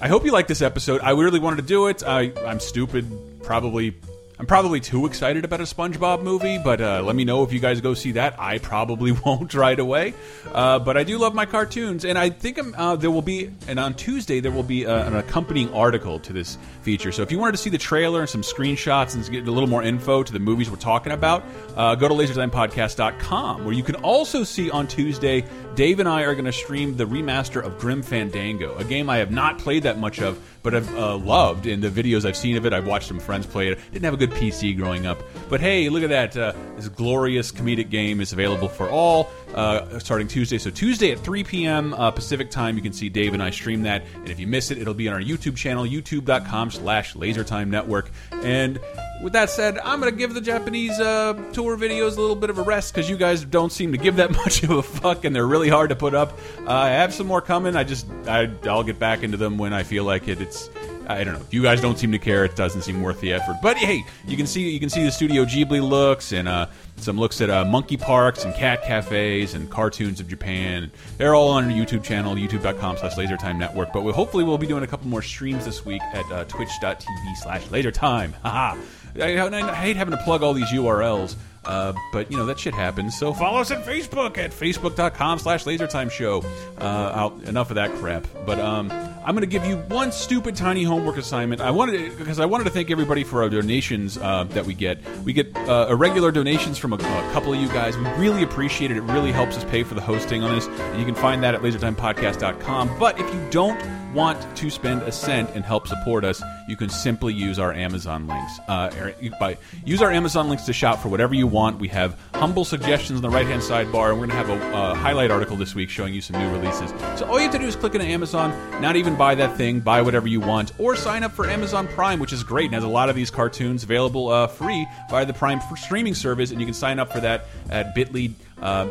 B: I hope you like this episode. I really wanted to do it. I, I'm stupid, probably I'm probably too excited about a SpongeBob movie, but uh, let me know if you guys go see that. I probably won't right away, uh, but I do love my cartoons, and I think um, uh, there will be. And on Tuesday there will be uh, an accompanying article to this feature. So if you wanted to see the trailer and some screenshots and get a little more info to the movies we're talking about, uh, go to laserdesignpodcast.com, where you can also see on Tuesday Dave and I are going to stream the remaster of Grim Fandango, a game I have not played that much of, but I've uh, loved in the videos I've seen of it. I've watched some friends play it. Didn't have a good PC growing up, but hey, look at that! Uh, this glorious comedic game is available for all uh, starting Tuesday. So Tuesday at 3 p.m. Uh, Pacific time, you can see Dave and I stream that. And if you miss it, it'll be on our YouTube channel, YouTube.com/slash LaserTime Network. And with that said, I'm going to give the Japanese uh, tour videos a little bit of a rest because you guys don't seem to give that much of a fuck, and they're really hard to put up. Uh, I have some more coming. I just I, I'll get back into them when I feel like it. It's I don't know. If you guys don't seem to care, it doesn't seem worth the effort. But hey, you can see you can see the Studio Ghibli looks and uh, some looks at uh, monkey parks and cat cafes and cartoons of Japan. They're all on our YouTube channel, YouTube.com/slash LaserTime Network. But we hopefully we'll be doing a couple more streams this week at uh, Twitch.tv/slash LaserTime. Haha. I, I hate having to plug all these URLs. Uh, but you know that shit happens. So follow us on Facebook at facebook.com/slash LaserTime Show. Uh, I'll- enough of that crap. But um, I'm going to give you one stupid tiny homework assignment. I wanted because I wanted to thank everybody for our donations uh, that we get. We get uh, irregular donations from a, a couple of you guys. We really appreciate it. It really helps us pay for the hosting on this. And you can find that at LaserTimePodcast.com. But if you don't want to spend a cent and help support us, you can simply use our Amazon links. Uh, er, you- by use our Amazon links to shop for whatever you want. We have humble suggestions on the right hand sidebar, and we're going to have a uh, highlight article this week showing you some new releases. So all you have to do is click into Amazon, not even buy that thing, buy whatever you want, or sign up for Amazon Prime, which is great and has a lot of these cartoons available uh, free by the Prime f- streaming service, and you can sign up for that at Bitly. Uh,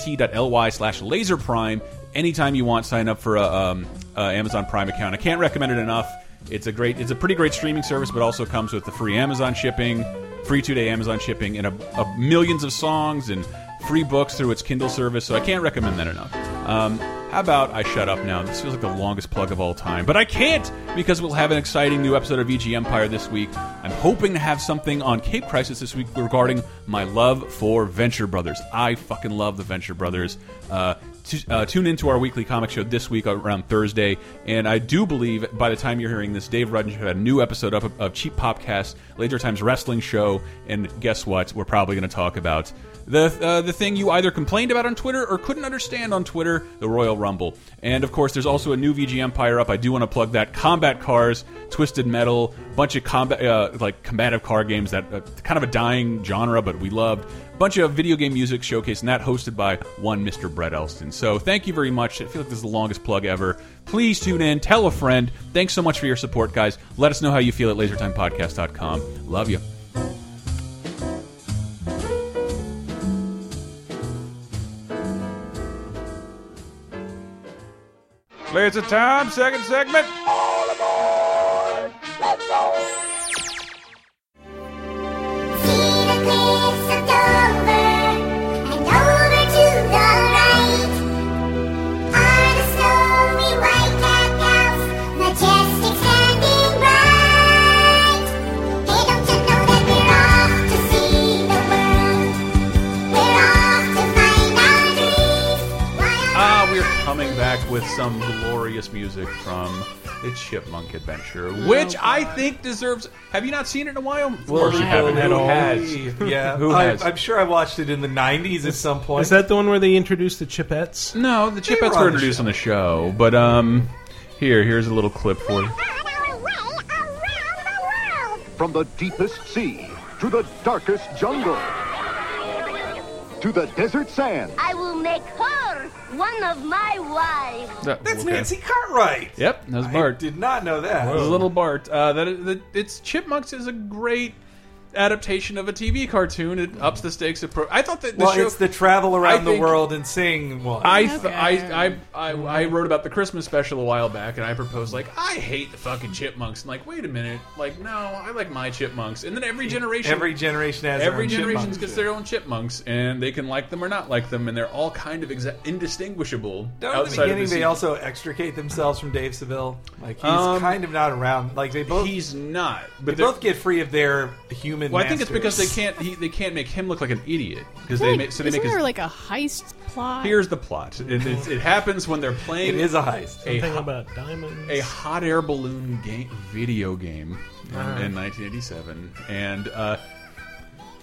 B: bit.ly slash laserprime. Anytime you want, sign up for a um, uh, Amazon Prime account. I can't recommend it enough. It's a great, it's a pretty great streaming service, but also comes with the free Amazon shipping, free two day Amazon shipping, and a, a millions of songs and free books through its Kindle service. So I can't recommend that enough. Um, how about I shut up now? This feels like the longest plug of all time, but I can't because we'll have an exciting new episode of EG Empire this week. I'm hoping to have something on Cape Crisis this week regarding my love for Venture Brothers. I fucking love the Venture Brothers. Uh, t- uh, tune into our weekly comic show this week around Thursday, and I do believe by the time you're hearing this, Dave Rudden should have a new episode up of, of Cheap Popcast, Laser Times Wrestling Show, and guess what? We're probably going to talk about the uh, the thing you either complained about on Twitter or couldn't understand on Twitter, the Royal Rumble. And of course, there's also a new VG Empire up. I do want to plug that Combat Cars, Twisted Metal, bunch of combat uh, like combative car games that uh, kind of a dying genre, but we loved. Bunch of video game music showcase, and that hosted by one Mr. Brett Elston. So thank you very much. I feel like this is the longest plug ever. Please tune in, tell a friend. Thanks so much for your support, guys. Let us know how you feel at lasertimepodcast.com. Love you.
S: Laser time, second segment.
B: Ah, we're coming back with some glorious music from the Chipmunk Adventure, which I think deserves. Have you not seen it in a while? Of course you haven't at all.
E: Yeah,
B: Who
E: I,
B: has?
E: I'm sure I watched it in the '90s at some point.
C: Is that the one where they introduced the Chipettes?
B: No, the Chipettes were introduced on the show, but um, here, here's a little clip for you.
T: From the deepest sea to the darkest jungle to the desert sand.
P: I will make her one of my wives.
E: That's Nancy Cartwright.
B: Yep, that was Bart.
E: did not know that.
B: That was little Bart. Uh, that, that it's Chipmunks is a great adaptation of a TV cartoon. It ups the stakes. Of pro- I thought that the
E: well,
B: show
E: it's the travel around
B: I
E: the
B: think-
E: world and sing one.
B: I, th- I, I, I, I wrote about the Christmas special a while back, and I proposed like I hate the fucking chipmunks. And like, wait a minute, like no, I like my chipmunks. And then every generation,
E: Every generation has their
B: every
E: own
B: generation
E: chipmunks.
B: gets their own chipmunks, and they can like them or not like them, and they're all kind of exa- indistinguishable
E: Don't at the
B: outside
E: beginning
B: of the
E: they
B: season.
E: also extricate themselves from Dave Seville. Like he's
B: Um,
E: kind of not around. Like they both
B: he's not.
E: But
B: but
E: they
B: they're-
E: both get free of their human.
B: Well, I think it's because they
E: masters.
B: can't. He, they can't make him look like an idiot because
D: Like,
B: they make, so they
D: isn't
B: make his
D: there like a heist plot?
B: Here's the plot. It, it, it happens when they're playing.
E: It is a heist.
B: A,
C: Something
B: ho-
C: about diamonds.
B: a hot air balloon game, video game in,
C: Ah.
B: in 1987, and uh,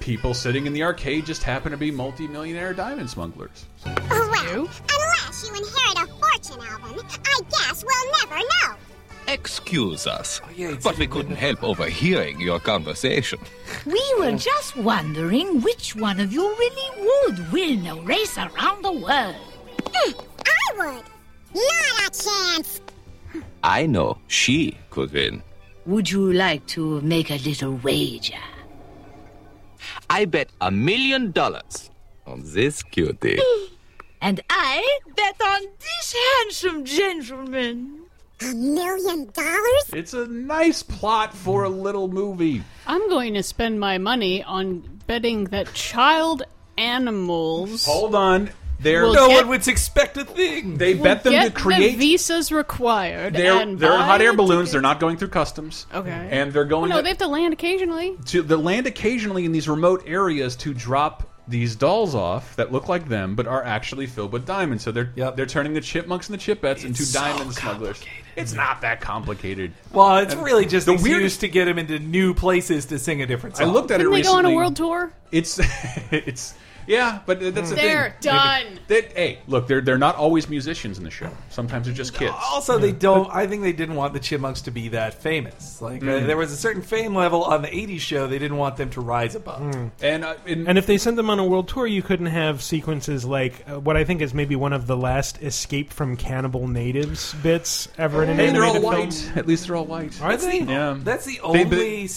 B: people sitting in the arcade just happen to be multi-millionaire diamond smugglers.
U: Well, unless you inherit a fortune album, I guess we'll never know.
V: Excuse us, but we couldn't help overhearing your conversation.
W: We were just wondering which one of you really would win a race around the world.
U: Hmm, I would. Not a chance.
V: I know she could win.
W: Would you like to make a little wager?
V: I bet a million dollars on this cutie.
W: And I bet on this handsome gentleman.
U: A million dollars?
B: It's a nice plot for a little movie.
D: I'm going to spend my money on betting that child animals.
B: Hold on, they're
D: We'll No get- one
E: would expect a thing.
B: They
D: will
B: bet them
D: get
B: to
D: the
B: create.
D: visas required.
B: they're
D: and
B: they're in
D: buy
B: hot air
D: the
B: balloons. They're not going through customs.
D: Okay.
B: And they're
D: Well,
B: going.
D: no,
B: to-
D: they have to land occasionally.
B: to the land occasionally in these remote areas to drop these dolls off that look like them but are actually filled with diamonds. So they're they're turning the chipmunks and the chipettes into diamond smugglers. It's not that complicated.
E: Well, it's
B: And
E: really just
B: the
E: the weirdest
B: weirdest-
E: to get him into new places to sing a different
B: I
E: song.
B: looked at it
D: Didn't they go
B: recently.
D: on a world tour?
B: It's it's yeah, but that's the
D: They're
B: thing.
D: done.
B: They- hey, look, they're they're not always musicians in the show. Sometimes they're just kids.
E: Also, they don't. I think they didn't want the Chipmunks to be that famous. Like uh,
B: Mm.
E: there was a certain fame level on the '80s show. They didn't want them to rise above.
B: And uh,
C: and if they sent them on a world tour, you couldn't have sequences like uh, what I think is maybe one of the last "Escape from Cannibal Natives" bits ever in an
B: Hey, they're all
C: animated film.
B: white. At least they're all white.
E: Are they?
B: Yeah.
E: That's the
B: They-
E: only
B: but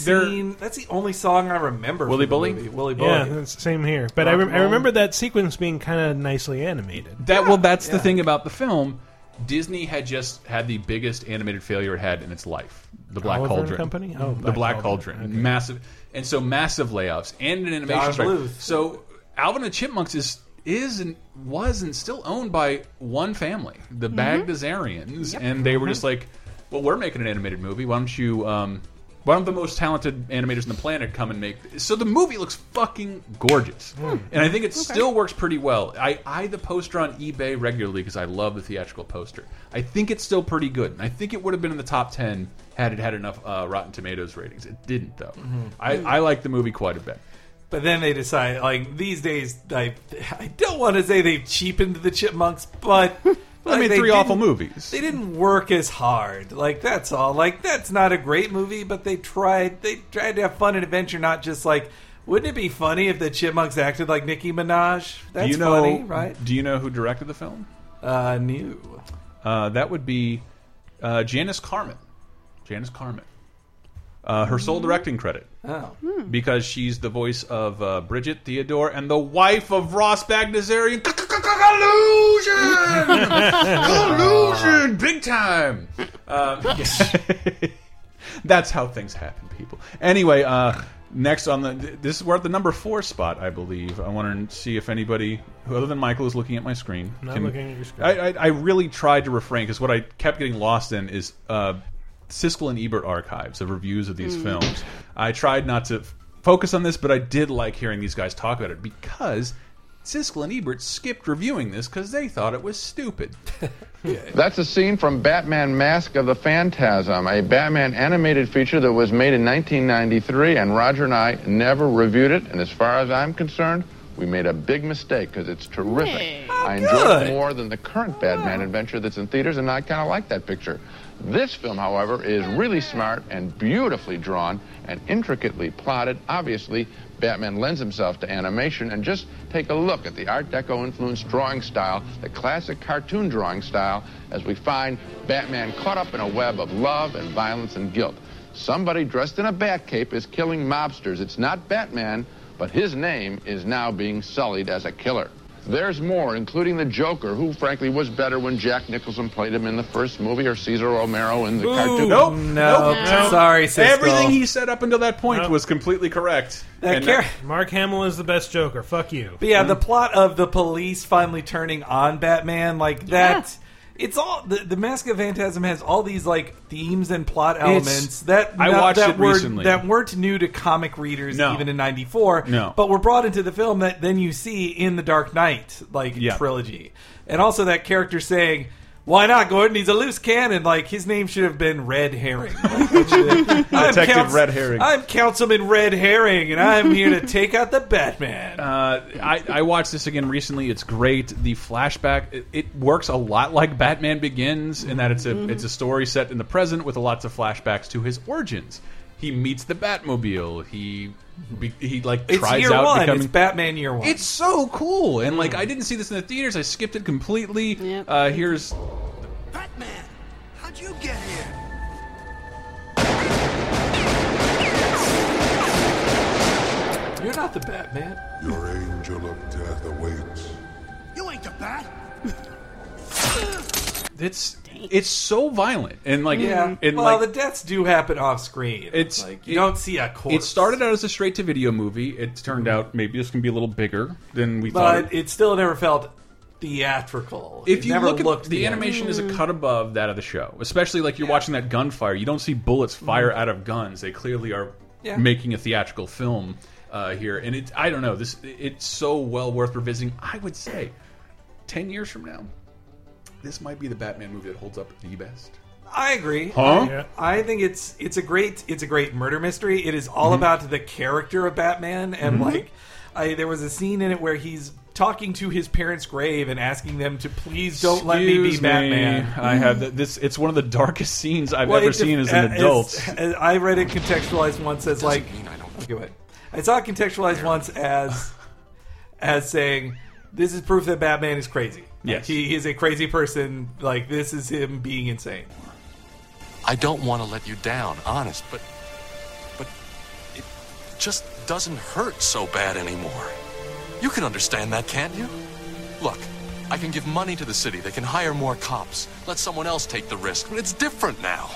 B: they're-
E: scene. That's the only song I remember.
B: Willy
E: from the
B: Bully?
E: movie, Willy Bully.
C: Yeah, that's the same here. But I,
E: Rock
C: rem-
E: and
C: I
E: roll.
C: remember that sequence being kind of nicely animated.
B: That well, that's the thing about the film. Disney had just had the biggest animated failure it had in its life. The Black
C: Oliver and
B: Cauldron
C: Company? Oh,
B: the
C: Black
B: Black
C: Cauldron.
B: Cauldron, massive, and so massive layoffs and an
E: Don
B: animation strike.
E: Bluth.
B: So Alvin and the Chipmunks is is and was and still owned by one family, the
E: Mm-hmm.
B: Bagdasarians, and they were just like, "Well, we're making an animated movie. Why don't you?" Um, why don't the most talented animators on the planet come and make? So the movie looks fucking gorgeous, Hmm. and I think it
E: Okay.
B: still works pretty well. I eye the poster on eBay regularly because I love the theatrical poster. I think it's still pretty good. And I think it would have been in the top ten had it had enough uh, Rotten Tomatoes ratings. It didn't though.
E: Mhm.
B: I, I like the movie quite a bit.
E: But then they decide, like these days, I, I don't want to say they've cheapened the Chipmunks, but
B: I mean,
E: they
B: three awful
E: didn't-
B: movies.
E: They didn't work as hard. Like that's all. Like that's not a great movie, but they tried. They tried to have fun and adventure, not just like. Wouldn't it be funny if the Chipmunks acted like Nicki Minaj? That's
B: do you know?
E: funny, right?
B: Do you know who directed the film?
E: Uh, new.
B: Uh, that would be uh, Janice Carmen. Janice Carmen. Uh, her
E: Mm-hmm.
B: sole directing credit.
E: Oh.
B: Hmm. Because she's the voice of uh, Bridget Theodore and the wife of Ross Bagdasarian.
D: Oh,
B: Collusion! Collusion! Big time! Um, That's how things happen, people. Anyway, uh, next on the th- this we're at the number four spot, I believe. I want to see if anybody who other than Michael is looking at my screen.
C: Not
B: can-
C: looking at your screen.
B: I, I, I really tried to refrain because what I kept getting lost in is uh, Siskel and Ebert archives of reviews of these
E: Mm.
B: films. I tried not to f- focus on this, but I did like hearing these guys talk about it because Siskel and Ebert skipped reviewing this because they thought it was stupid.
X: That's a scene from Batman Mask of the Phantasm, a Batman animated feature that was made in 1993, and Roger and I never reviewed it. And as far as I'm concerned, we made a big mistake because it's terrific.
Y: Hey.
X: I
Y: Oh,
X: enjoyed
Y: good.
X: it more than the current Batman adventure that's in theaters, and I kind of like that picture. This film, however, is really smart and beautifully drawn and intricately plotted. Obviously, Batman lends himself to animation, and just take a look at the Art Deco influenced drawing style, the classic cartoon drawing style, as we find Batman caught up in a web of love and violence and guilt. Somebody dressed in a bat cape is killing mobsters. It's not Batman, but his name is now being sullied as a killer. There's more, including the Joker, who frankly was better when Jack Nicholson played him in the first movie or Cesar Romero in the
B: Ooh,
X: cartoon.
B: Nope. nope, nope.
E: Sorry, Siskel.
B: Everything he said up until that point was completely correct. And
E: uh,
B: now-
C: Mark Hamill is the best Joker. Fuck you.
E: But yeah, the plot of the police finally turning on Batman, like that. It's all the, the Mask of Phantasm has all these like themes and plot elements that
B: I
E: not-
B: watched
E: that
B: it
E: were,
B: recently.
E: that weren't new to comic readers
B: No.
E: even in '94.
B: No.
E: but were brought into the film that then you see in the Dark Knight like
B: Yeah.
E: trilogy, and also that character saying. Why not, Gordon? He's a loose cannon. Like his name should have been Red Herring. Like, it should have- I'm
B: Detective
E: Couns-
B: Red Herring.
E: I'm Councilman Red Herring, and I'm here to take out the Batman.
B: Uh, I, I watched this again recently. It's great. The flashback it, it works a lot like Batman Begins in that it's a it's a story set in the present with lots of flashbacks to his origins. He meets the Batmobile. He be- he like
E: It's
B: tries
E: year
B: out
E: one.
B: becoming
E: It's Batman Mm. year one.
B: It's so cool. And like I didn't see this in the theaters. I skipped it completely. Uh, here's
J: How'd you get here?
E: You're not the Batman.
A: Your angel of death awaits.
J: You ain't the bat.
B: it's it's so violent and like
E: yeah.
B: and
E: well,
B: like,
E: the deaths do happen off screen. It's like you
B: it-
E: don't see a corpse.
B: It started out as a straight to video movie. It turned out maybe this can be a little bigger than we thought.
E: but it still never felt theatrical.
B: if
E: It
B: you
E: never
B: look at
E: looked Mm,
B: the animation is a cut above that of the show especially like you're watching that gunfire you don't see bullets fire out of guns they clearly are
E: Yeah.
B: making a theatrical film uh, here and it i don't know this it's so well worth revisiting i would say 10 years from now this might be the batman movie that holds up the best
E: I agree.
B: Huh?
E: I- I think it's it's a great it's a great murder mystery. It is all
B: Mhm.
E: about the character of Batman and
B: Mhm.
E: like I there was a scene in it where he's talking to his parents' grave and asking them to please don't let me be
B: Excuse
E: Batman.
B: i have th- this it's one of the darkest scenes i've
E: Well,
B: ever
E: it def- uh,
B: seen as an adult
E: as- I read it contextualized once as like Okay, wait. I saw it contextualized once as as saying this is proof that Batman is crazy.
B: Yes.
E: He, he is a crazy person. Like this is him being insane.
G: I don't want to let you down, honest, but but it just doesn't hurt so bad anymore. You can understand that, can't you? Look, I can give money to the city. They can hire more cops. Let someone else take the risk. But it's different now.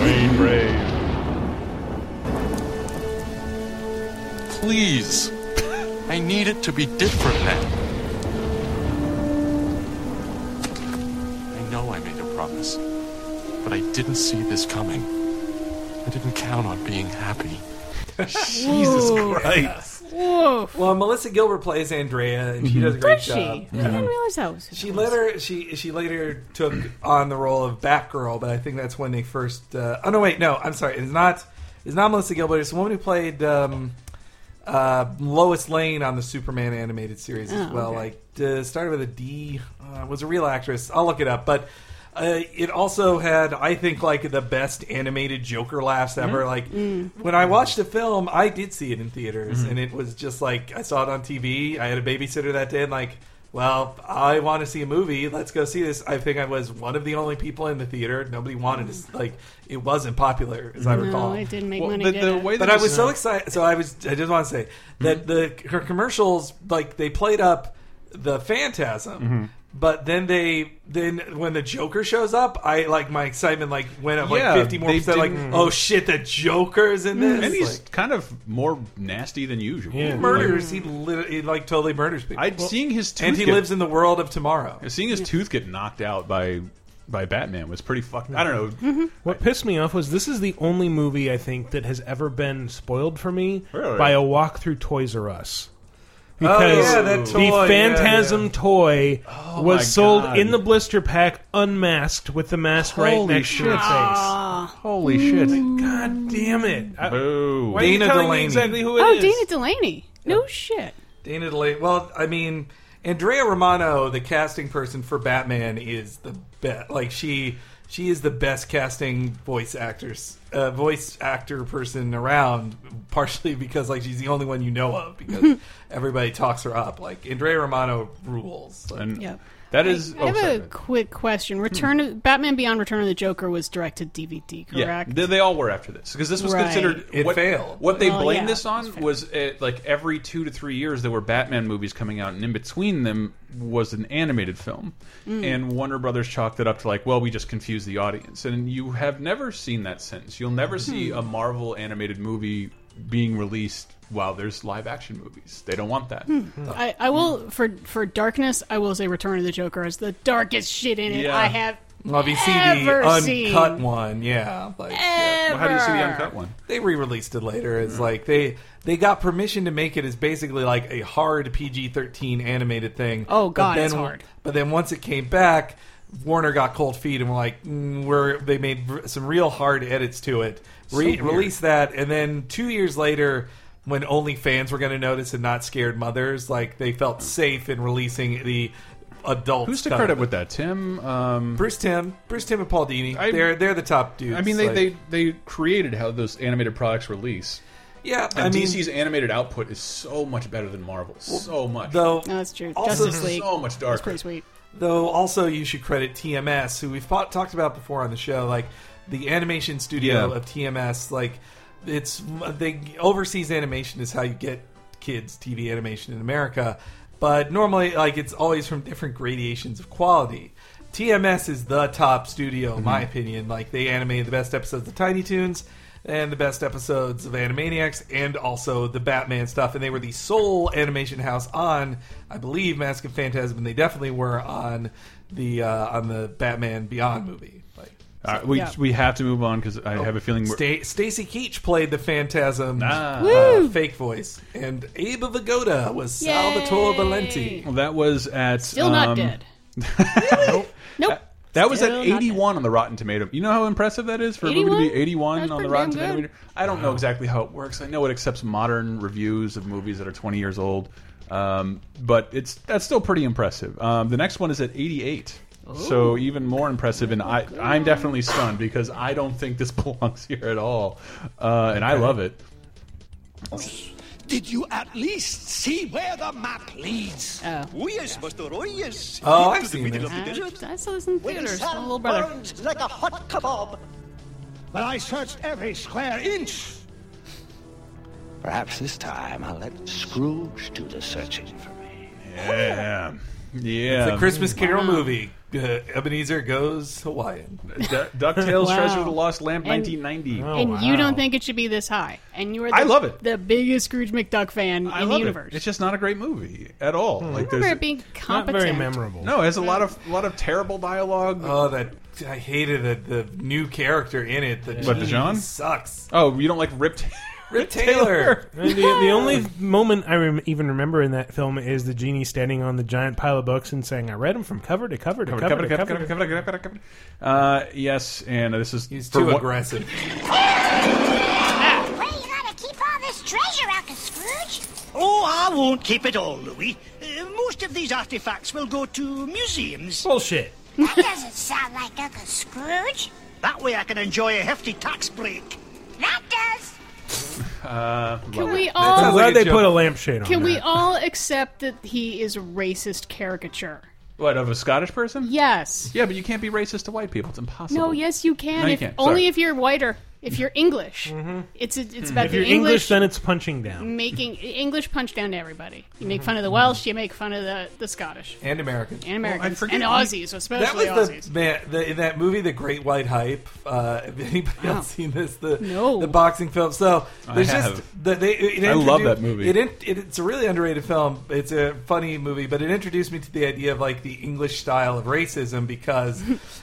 X: Wayne Brave.
G: Please. I need it to be different now. I know I made a promise, but I didn't see this coming. I didn't count on being happy.
E: Jesus Christ.
D: Whoa.
E: Well, Melissa Gilbert plays Andrea, and she
G: Mhm.
E: does a great
D: Does she?
E: job.
D: I didn't realize that was.
E: She later she she later took on the role of Batgirl, but I think that's when they first. Uh, oh no, wait, no, I'm sorry. It's not it's not Melissa Gilbert. It's the woman who played um, uh, Lois Lane on the Superman animated series as
B: Oh,
E: well.
B: okay.
E: Like uh, started with a D. Uh, was a real actress. I'll look it up, but. Uh, it also had, I think, like the best animated Joker laughs
D: Mm-hmm.
E: ever.
B: Mhm.
E: Like
B: Mm.
E: when I watched the film, I did see it in theaters,
D: Mm-hmm.
B: Mhm.
E: and it was just like I saw it on TV. I had a babysitter that day, and like, well, I want to see a movie. Let's go see this. I think I was one of the only people in the theater. Nobody wanted to s- like. It wasn't popular, as I
D: No,
E: recall.
D: it didn't make
E: Well,
D: money,
E: But,
D: did it?
E: but I was so excited. So I was. I just want to say that the her commercials, like they played up the phantasm.
B: Mhm.
E: But then they then when the Joker shows up, I like my excitement like went up
B: Yeah,
E: like fifty more
B: they
E: percent. Like
B: didn't-
E: oh shit, the Joker's in this.
B: and he's
E: Like-
B: kind of more nasty than usual
E: he murders. He, lit- he like totally murders people.
B: I'd seeing his tooth
E: and he
B: get-
E: lives in the world of tomorrow.
B: Seeing his tooth get knocked out by by Batman was pretty fucked. I don't know.
C: What pissed me off was this is the only movie I think that has ever been spoiled for me
B: Really?
C: by a walk through Toys R Us.
E: Oh,
C: Because
E: yeah, that toy, yeah,
C: the Phantasm
E: yeah.
C: toy
E: Oh my
C: was sold
E: God.
C: in the blister pack unmasked with the mask right
E: Holy
C: next to
E: shit.
C: your face.
B: Holy shit.
E: Mm.
C: God damn it. I-
B: Boo.
C: Why are you
E: Dana
C: telling me
E: Delaney.
C: exactly who it
D: Oh,
C: is?
D: Dana Delaney. No shit.
E: Dana Delay. Well, I mean, Andrea Romano, the casting person for Batman, is the best. Like she, she is the best casting voice actors, uh, voice actor person around. Partially because like she's the only one you know of because everybody talks her up. Like Andrea Romano rules. Like,
B: And That is.
D: I
B: oh,
D: have
B: sorry.
D: a quick question. Return of Batman Beyond Return of the Joker was direct to DVD, correct?
B: Yeah, they, they all were after this because this was
D: Right.
B: considered
E: It
B: what,
E: failed.
B: What they
D: Well,
B: blame
D: yeah,
B: this on was uh like every two to three years there were Batman movies coming out, and in between them was an animated film,
E: Mm.
B: and Warner Brothers chalked it up to like, well, we just confused the audience, and you have never seen that since. You'll never see
E: Hmm.
B: a Marvel animated movie being released while there's live action movies. They don't want that.
D: I, I will for for darkness. I will say Return of the Joker is the darkest shit in it
B: Yeah.
D: I have
E: Well, if you see
D: ever
E: the
D: seen.
E: uncut one, yeah. Like, yeah.
D: Well, how do you see the Ever.
B: uncut one?
E: They re-released it later. It's like they they got permission to make it as basically like a hard PG-13 animated thing.
D: Oh,
E: But
D: God,
E: then,
D: it's hard.
E: But then once it came back, Warner got cold feet and were like, mm, "We're they made r- some real hard edits to it.
B: So
E: Re-
B: weird.
E: release that, and then two years later." When only fans were going to notice and not scared mothers, like they felt safe in releasing the adult.
B: Who's to
E: stuff.
B: credit with that? Tim, um,
E: Bruce Tim, Bruce Tim, and Paul Dini. they're they're the top dudes.
B: I mean, they,
E: Like,
B: they they created how those animated products release.
E: Yeah,
B: and
E: I mean-
B: DC's animated output is so much better than Marvel's. so much,
E: though.
D: No, that's true.
E: Also,
D: Justice League.
B: so much
D: That's
B: darker.
D: pretty sweet.
E: Though also you should credit TMS, who we've po- talked about before on the show, like the animation studio
B: Yeah.
E: of TMS. Like it's they overseas animation is how you get kids TV animation in America, but normally like it's always from different gradations of quality. TMS is the top studio, in my
B: Mhm.
E: opinion. Like they animated the best episodes of Tiny Toons and the best episodes of Animaniacs and also the Batman stuff. And they were the sole animation house on, I believe, Mask of Phantasm, and they definitely were on the uh, on the Batman Beyond movie. Like
B: All right, we
E: Yeah.
B: we have to move on because I have a feeling we're.
E: Sta- Stacy Keach played the Phantasm
B: Ah.
E: uh, fake voice, and Abe Vigoda was Salvatore Valenti.
B: Well, that was at
E: Still not
B: um,
E: dead.
B: That was at
E: Still not
B: 81 on the Rotten Tomato. You know how impressive that is for a movie to be 81 on the Rotten Tomato meter? I don't know exactly how it works. I know it accepts modern reviews of movies that are 20 years old, um, but it's that's still pretty impressive. Um, the next one is at 88. So even more impressive, and I, I'm definitely stunned because I don't think this belongs here at all, uh, and I love it.
J: Did you at least see where the map leads? Oh, yes, Master. Oh, yes.
E: Oh,
J: Into
E: I've
J: the
E: seen
J: middle
E: this.
J: of the desert.
D: I, I saw this in
J: Where the
D: theaters.
J: sun
D: My little brother.
J: burns like a hot kebab. But I searched every square inch.
H: Perhaps this time I'll let Scrooge do the searching for me.
B: Yeah, yeah.
E: It's a Um, Christmas Carol
B: Wow.
E: movie. Uh, Ebenezer goes Hawaiian.
B: DuckTales
D: Wow.
B: Treasure of the Lost Lamp,
D: And-
B: 1990.
D: and you don't think it should be this high, and you are the,
B: I love it.
D: the biggest Scrooge McDuck fan
B: I
D: in the
B: love it.
D: universe. Hmm.
B: It's just not a great movie at all. Like
D: I
B: there's
D: remember it being competent.
B: No, it has a lot of lot of terrible dialogue.
E: Oh, that I hated the, the new character in it. The
B: What, the
E: he
B: John?
E: sucks.
B: Oh, you don't like Rip Taylor?
E: Rip Taylor.
C: And the, the only moment I rem- even remember in that film is the genie standing on the giant pile of books and saying, "I read them from cover to cover to cover,
B: Cover to
C: to
B: cover
C: cover,
B: to cover to cover to cover. Uh, yes, and this is he's
E: too aggressive.
U: Where you gonna keep all this treasure, Uncle Scrooge?
J: Oh, I won't keep it all, Louis. Uh, most of these artifacts will go to museums.
C: Bullshit.
U: That doesn't sound like Uncle Scrooge.
J: That way I can enjoy a hefty tax break.
U: That does.
B: Uh,
D: Can
B: love
D: we
B: it.
D: all-
C: I'm glad they put a lampshade on.
D: Can we
C: that.
D: all accept that he is a racist caricature?
B: What of a Scottish person?
D: Yes.
B: Yeah, but you can't be racist to white people. It's impossible.
D: No, yes, you can.
B: No, you
D: if,
B: can't. Sorry.
D: Only if you're whiter. If you're English, it's it's about
C: Mm-hmm. if
D: the
C: you're
D: English, Mm.
C: then it's punching down.
D: making English punch down to everybody. You make fun of the Welsh. You make fun of the, the Scottish
E: and American
D: and Americans and Aussies, especially
E: that was
D: Aussies.
E: The, man, the, in that movie, The Great White Hype. Uh, have anybody
D: Wow.
E: else seen this? The
D: No.
E: the boxing film. So
B: I
E: there's
B: have.
E: just the, they, it
B: I love
E: introduced-
B: that movie.
E: It, in- it it's a really underrated film. It's a funny movie, but it introduced me to the idea of like the English style of racism because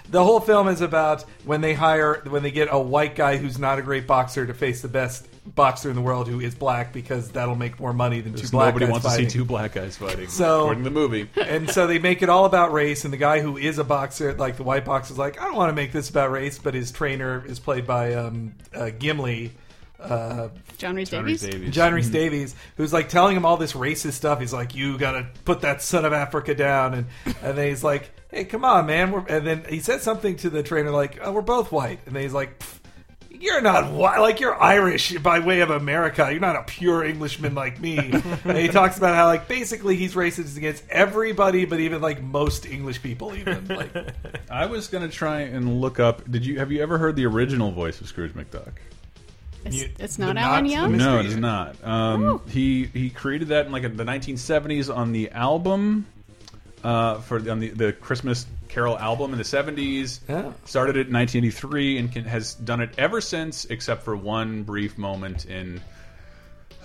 E: the whole film is about when they hire when they get a white guy who's not a great boxer to face the best boxer in the world who is black because that'll make more money than two
B: Just
E: black
B: nobody
E: guys
B: wants
E: fighting
B: to see two black guys fighting.
E: So-
B: according to the movie,
E: and so they make it all about race. And the guy who is a boxer, like the white boxer, is like, I don't want to make this about race. But his trainer is played by um, uh, Gimli. Uh,
D: John Rhys John Rhys Davies? Davies.
E: John
B: Hmm.
E: Rhys
D: Mhm.
E: Davies, who's like telling him all this racist stuff. He's like, "You gotta put that son of Africa down," and and then he's like, "Hey, come on, man!" We're, and then he said something to the trainer like, oh, "We're both white," and then he's like, "Pff, "You You're not whi- like you're Irish by way of America. You're not a pure Englishman like me. and he talks about how like basically he's racist against everybody, but even like most English people. Even like
B: I was gonna try and look up. Did you have you ever heard the original voice of Scrooge McDuck?
D: It's, it's not Alan Young.
B: No, it's not. Um, he he created that in like the 1970s on the album uh, for on the, the Christmas Carol album in the 70s. Started it in 1983 and can, has done it ever since, except for one brief moment in.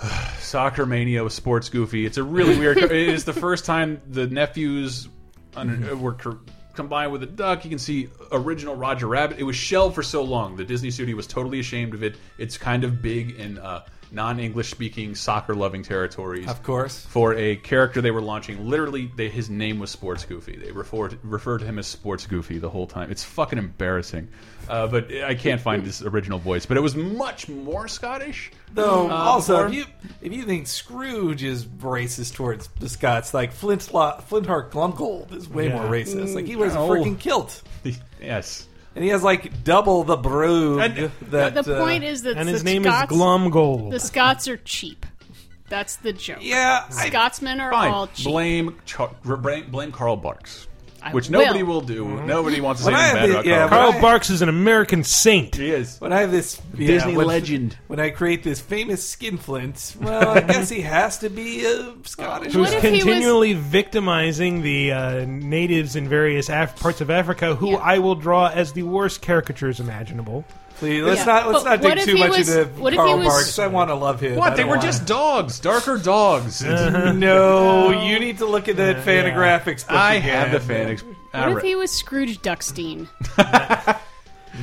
B: Soccer Mania with Sports Goofy. It's a really weird. it is the first time the nephews on, were co- combined with a duck. You can see original Roger Rabbit. It was shelved for so long. The Disney studio was totally ashamed of it. It's kind of big in uh, non-English speaking soccer loving territories.
E: Of course.
B: For a character they were launching, literally they, his name was Sports Goofy. They referred referred to him as Sports Goofy the whole time. It's fucking embarrassing. Uh, but I can't find his original voice, but it was much more Scottish.
E: Though
B: Uh,
E: also,
B: for-
E: if you if you think Scrooge is racist towards the Scots, like Flintlock Flintheart Glumgold is way
B: Yeah. Mm,
E: more racist. Like he wears
B: No.
E: a freaking kilt.
B: yes,
E: and he has like double the brood. that,
D: The
E: uh,
D: point is that
C: and
D: the
C: his name is
D: Scots,
C: Glumgold.
D: The Scots are cheap. That's the joke.
E: Yeah,
D: Scotsmen are all
B: Fine.
D: cheap.
B: Blame Char- blame blame Carl Barks,
D: I
B: which
D: will. Mm-hmm.
B: nobody will do. Nobody wants to say
E: When I
B: anything
E: have
B: bad
E: the-
B: about Carl.
E: yeah, when
B: Barks.
E: I-
C: Carl Barks is an American saint.
B: He is.
E: When I have this yeah,
C: Disney
E: when-
C: legend.
E: when I create this famous skinflint, well, I guess he has to be uh, Scottish.
C: Who's continually victimizing the uh, natives in various Af- parts of Africa, who I will draw as the worst caricatures imaginable.
E: Please, let's not let's not
C: But what
E: dig
C: if
E: too
C: he
E: much
C: was-
E: into
C: what if
E: Karl
C: he was-
E: Marx. I want to love him.
B: What?
E: I
B: They
E: don't
B: were
E: wanna-
B: just dogs, darker dogs.
E: Uh-huh. no, you need to look at that
B: Yeah.
E: Fantagraphics. Book
B: I
E: again.
B: have the Fantagraphics. Uh,
D: What if he was Scrooge Duckstein?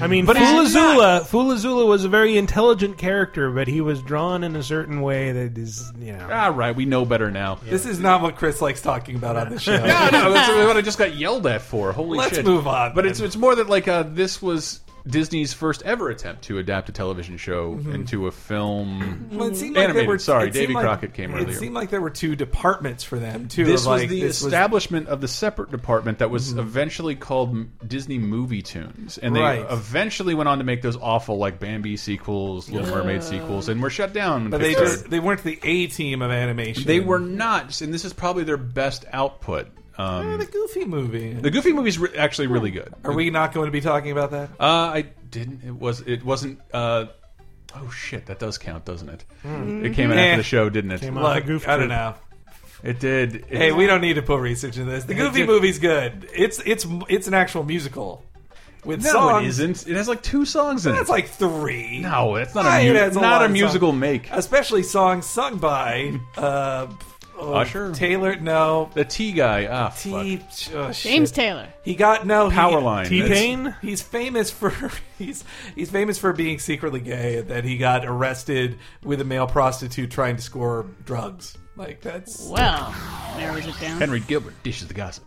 C: I mean,
D: But it's
C: Fulazula, Fulazula was a very intelligent character, but he was drawn in a certain way that is, you know.
B: All right, we know better now.
E: This is not what Chris likes talking about on the show.
B: no, no, that's what I just got yelled at for. Holy
E: Let's
B: shit!
E: move on,
B: But it's it's more that like uh, this was Disney's first ever attempt to adapt a television show
E: Mhm.
B: into a film.
E: Well, it seemed like
B: animated.
E: there were,
B: Sorry,
E: it seemed
B: Davy
E: like-
B: Crockett came
E: it
B: earlier.
E: seemed like there were two departments for them too.
B: this
E: of like,
B: was Mm-hmm. the
E: this
B: establishment of the separate department that was
E: Mhm.
B: eventually called M- Disney Movie Tunes, and they
E: Right.
B: eventually went on to make those awful like Bambi sequels, Little
E: Yeah.
B: Mermaid sequels, and were shut down. when
E: But they
B: Pixar-
E: just they weren't the A team of animation.
B: they were not, and this is probably their best output. Um,
E: Eh, the Goofy movie.
B: the Goofy movie's re actually really good.
E: Are we not going to be talking about that?
B: Uh, I didn't. It was. It wasn't. Uh, oh shit! That does count, doesn't it?
E: Mm.
B: It came out
E: Eh.
B: after the show, didn't it?
E: Came off Look, the Goof I don't Troop. know.
B: It did. It-
E: Hey, we don't need to put research into this. The
B: I
E: Goofy
B: did-
E: movie's good. It's it's it's an actual musical with
B: no,
E: songs.
B: it isn't. It has like two songs in it.
E: That's like three.
B: No, that's not
E: Ah,
B: a,
E: it
B: mu-
E: has
B: not
E: lot
B: a
E: of
B: musical
E: songs.
B: make.
E: especially songs sung by uh, oh,
B: Usher?
E: Taylor. No,
B: The T guy. Ah,
E: T. oh, shit.
D: James Taylor.
E: He got no he-
B: Powerline.
E: That's- He's famous for he's he's famous for being secretly gay. That he got arrested with a male prostitute trying to score drugs. Like that's
D: Well, narrows it down.
B: Henry Gilbert dishes the gossip.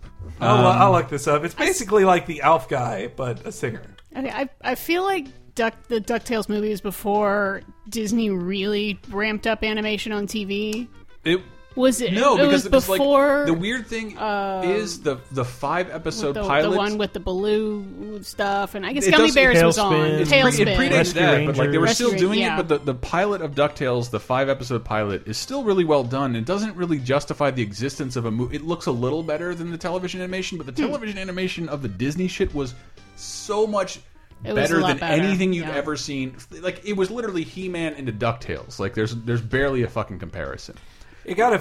B: Um,
E: I'll, I'll look this up. It's basically like the Alf guy, but a singer.
D: Okay, I, I feel like Duck the DuckTales movie was before Disney really ramped up animation on TV.
B: It
D: was it
B: No,
D: it
B: because
D: was
B: it was like-
D: before
B: the weird thing
D: uh,
B: is the the five
D: with
B: episode
D: the,
B: pilot.
D: the one with the Baloo stuff and I guess
B: It
D: Gummy
B: does-
D: Bears was on
B: It's pre-
D: Tailspin.
B: It predates that, but like they were
D: Rescue
B: still doing
D: Rangers,
B: it. But the, the pilot of Ducktales, the five episode pilot, is still really well done. It doesn't really justify the existence of a movie. It looks a little better than the television animation, but the
D: Hmm.
B: television animation of the Disney shit was so much.
D: It was a
B: better
D: lot
B: than
D: better,
B: anything you've
D: yeah.
B: ever seen. Like it was literally He-Man into Ducktales. Like there's there's barely a fucking comparison.
E: It got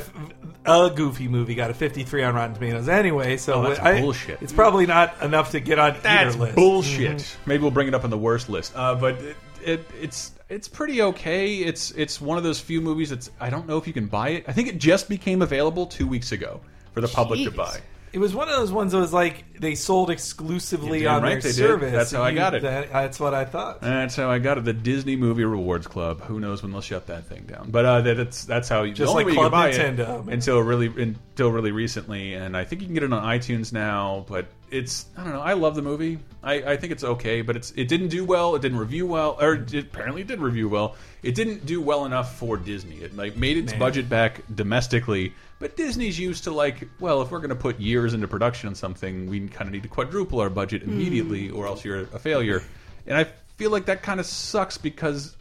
E: a, a goofy movie got a 53 on Rotten Tomatoes anyway, so
B: Oh, that's
E: I-
B: bullshit.
E: It's probably not enough to get on
B: That's
E: either list. Mm-hmm.
B: bullshit.
E: Mhm.
B: Mm-hmm. Maybe we'll bring it up on the worst list. Uh, but it, it, it's it's pretty okay. It's it's one of those few movies that's I don't know if you can buy it. I think it just became available two weeks ago for the public to
E: Jeez.
B: buy.
E: It was one of those ones that was like they sold exclusively
B: You're damn
E: on
B: right
E: their
B: they did.
E: service.
B: That's how I got it.
E: that- that's what I thought.
B: And that's how I got it. The Disney Movie Rewards Club. Who knows when they'll shut that thing down? But uh, that, that's that's how you
E: Just
B: the only
E: like
B: way
E: Club
B: you can buy
E: Nintendo,
B: it
E: man.
B: until really until really recently. And I think you can get it on iTunes now. But it's I don't know. I love the movie. I, I think it's okay, but it's it didn't do well. It didn't review well, or it apparently it did review well. It didn't do well enough for Disney. It like made its
E: Man.
B: budget back domestically. But Disney's used to like, well, if we're going to put years into
D: Hmm.
B: production on something, we kind of need to quadruple our budget immediately, or else you're a failure. And I feel like that kind of sucks because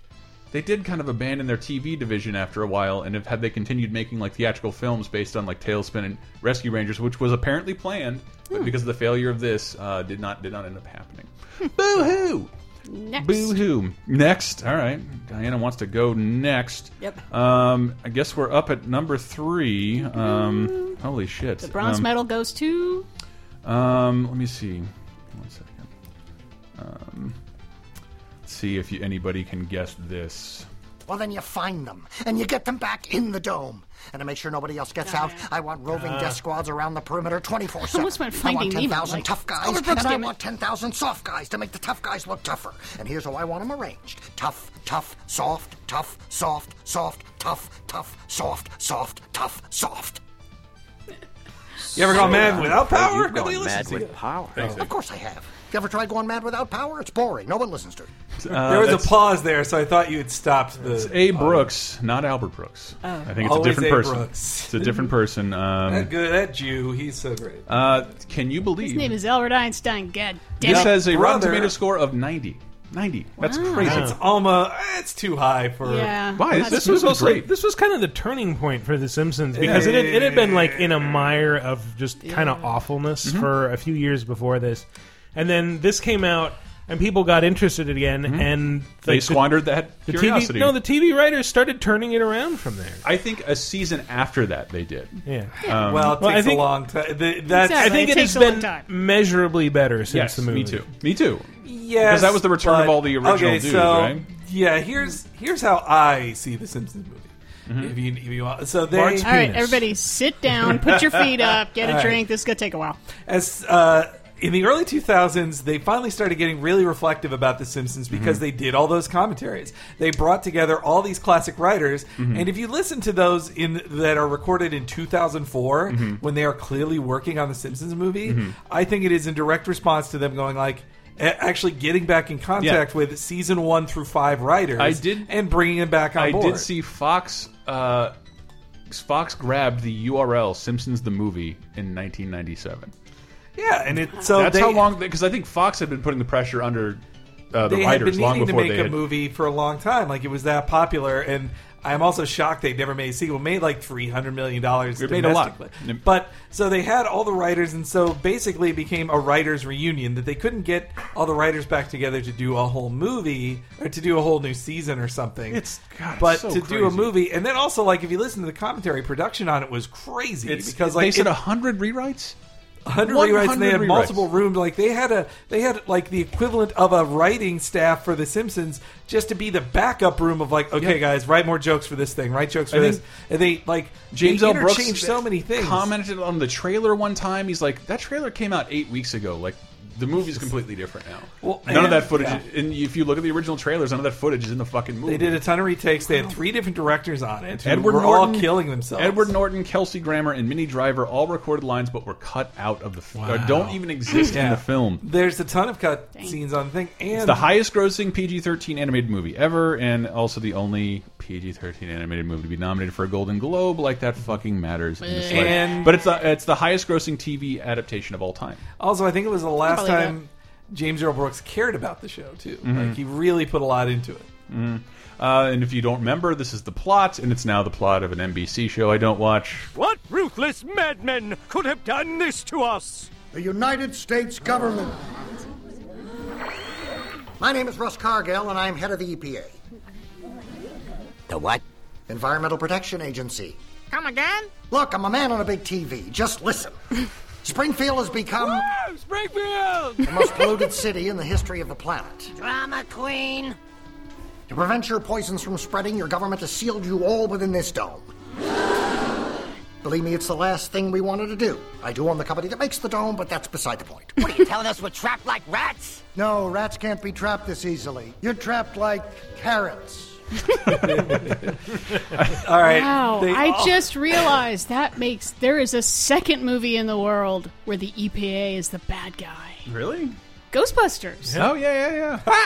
B: they did kind of abandon their TV division after a while, and if had they continued making like theatrical films based on like Tailspin and Rescue Rangers, which was apparently planned,
D: Hmm.
B: but because of the failure of this, uh, did not did not end up happening. Boo hoo!
D: Next.
B: Boo hoo! Next, all right. Diana wants to go next.
D: Yep.
B: Um, I guess we're up at number three. Um, holy shit!
D: The bronze
B: Um,
D: medal goes to.
B: um, let me see. One second. Um, let's see if you, anybody can guess this.
Z: Well, then you find them and you get them back in the dome. And to make sure nobody else gets out, I want roving
B: Uh.
Z: death squads around the perimeter 24 7.
D: Almost went Finding
Z: want
D: Nemo,
Z: 10,000
D: like,
Z: tough
D: it's
Z: guys,
D: Albert
Z: and
D: Brooks,
Z: I
D: damn it.
Z: want 10,000 soft guys to make the tough guys look tougher. And here's how I want them arranged tough, tough, soft, tough, soft, soft, tough, tough, soft, soft, tough, soft.
E: You ever gone mad without
Z: Well,
E: power?
Z: you've
E: Nobody
Z: gone
E: listens
Z: mad
E: to
Z: with
E: you.
Z: power. Of course I have. You ever try going mad without power? It's boring. No one listens to it.
E: there was a
B: Uh, that's-
E: pause there, so I thought you had stopped the.
B: It's A. Brooks, not Albert Brooks.
E: Oh.
B: I think it's
E: Always
B: a different
E: A.
B: person.
E: Brooks.
B: It's a different person.
E: that
B: Um,
E: good, that Jew. He's so great.
B: uh, can you
D: His
B: believe
D: name is Albert Einstein. God damn
B: this
D: it.
B: has a Rotten
E: brother-
B: Tomato score of 90? 90. That's
D: Wow.
B: crazy.
E: It's almost. Uh, It's too high for.
D: Yeah.
B: Why? This- this was
C: also
B: great.
C: this was kind of the turning point for The Simpsons because it, had, it had been like in a mire of just kind of awfulness
B: Mhm.
C: for a few years before this, and then this came out and people got interested again, and
B: Mm-hmm. They
C: like, the-
B: squandered that
C: the
B: curiosity.
C: TV, no, the TV writers started turning it around from there.
B: I think a season after that they did.
C: Yeah.
B: Um,
E: well, it takes
C: Well, I think-
E: a long time. The, that's.
C: I think it, has been measurably better since
B: Yes,
C: the movie.
B: me too. Me too.
E: Yes,
B: Because that was the return of
E: but-
B: all the original
E: okay,
B: dudes,
E: so,
B: right?
E: Yeah, here's here's how I see the Simpsons movie.
B: Mm-hmm.
E: If you if you want, so they
D: All right, everybody, sit down, put your feet up, get a
E: All right.
D: drink. This is gonna take a while.
E: as uh, in the early 2000s they finally started getting really reflective about the simpsons because
B: Mhm.
E: they did all those commentaries they brought together all these classic writers
B: Mhm.
E: and if you listen to those in that are recorded in 2004
B: Mhm.
E: when they are clearly working on the simpsons movie
B: Mhm.
E: i think it is in direct response to them going like a- actually getting back in contact with season 1 through 5 writers
B: I did-
E: and bringing them back on
B: I
E: board
B: did see Fox. Uh, Fox grabbed the URL Simpsons the movie in 1997.
E: yeah and it so
B: that's
E: they,
B: how long because I think Fox had been putting the pressure under uh, the
E: they had
B: writers
E: been
B: long
E: needing
B: before
E: to make
B: they
E: a
B: had.
E: movie for a long time. Like it was that popular, and I'm also shocked they never made a sequel. It Made like three hundred million dollars.
B: It made a lot.
E: but so they had all the writers, and so basically it became a writers reunion that they couldn't get all the writers back together to do a whole movie or to do a whole new season or something. It's
B: God,
E: but
B: it's so
E: to do a
B: crazy.
E: movie, and then also like if you listen to the commentary, production on it was crazy
B: It's-
E: because
B: they
E: like
B: said
E: it-
B: 100 rewrites.
E: 100 rewrites and they
B: 100
E: had
B: rewrites.
E: multiple rooms like they had a they had like the equivalent of a writing staff for the simpsons just to be the backup room of like okay
B: Yeah.
E: guys write more jokes for this thing write jokes for
B: I
E: this
B: think
E: and they like
B: James
E: they
B: L. Brooks
E: interchanged so many things
B: commented on the trailer one time. He's like, "That trailer came out eight weeks ago. Like, the movie's completely different now.
E: Well,
B: none of
E: and-
B: that footage.
E: yeah.
B: And if you look at the original trailers, none of that footage is in the fucking movie.
E: they did a ton of retakes they had three different directors on it who
B: Edward
E: were
B: Norton,
E: all killing themselves
B: Edward Norton, Kelsey Grammer, and Minnie Driver all recorded lines, but were cut out of the f or don't even exist in
E: Yeah.
B: the film.
E: there's a ton of cut scenes on the thing and
B: It's the highest-grossing PG-13 animated movie ever, and also the only PG-13 animated movie to be nominated for a Golden Globe. Like that fucking matters. In the slightest.
E: And-
B: but it's the, it's the highest-grossing TV adaptation of all time.
E: Also, I think it was the
B: believe
E: last
B: it.
E: time James Earl Brooks cared about the show too.
B: Mhm.
E: Like he really put a lot into it.
B: Mm. Uh, and if you don't remember, this is the plot, and it's now the plot of an NBC show I don't watch.
L: What ruthless madmen could have done this to us?
Z: The United States government. My name is Russ Cargill, and I'm head of the E EPA. The what? Environmental Protection Agency.
I: Come again?
Z: Look, I'm a man on a big TV. Just listen. Springfield has become
I: Springfield!
Z: the most polluted city in the history of the planet.
I: Drama queen.
Z: To prevent your poisons from spreading, your government has sealed you all within this dome. Believe me, it's the last thing we wanted to do. I do own the company that makes the dome, but that's beside the point.
I: What are you telling us we're trapped like rats?
Z: No, rats can't be trapped this easily. You're trapped like carrots.
E: All right.
D: Wow,
Z: They
D: I
Z: all-
D: just realized that makes there is a second movie in the world where the EPA is the bad guy.
B: Really?
D: Ghostbusters.
B: Oh yeah, yeah, yeah.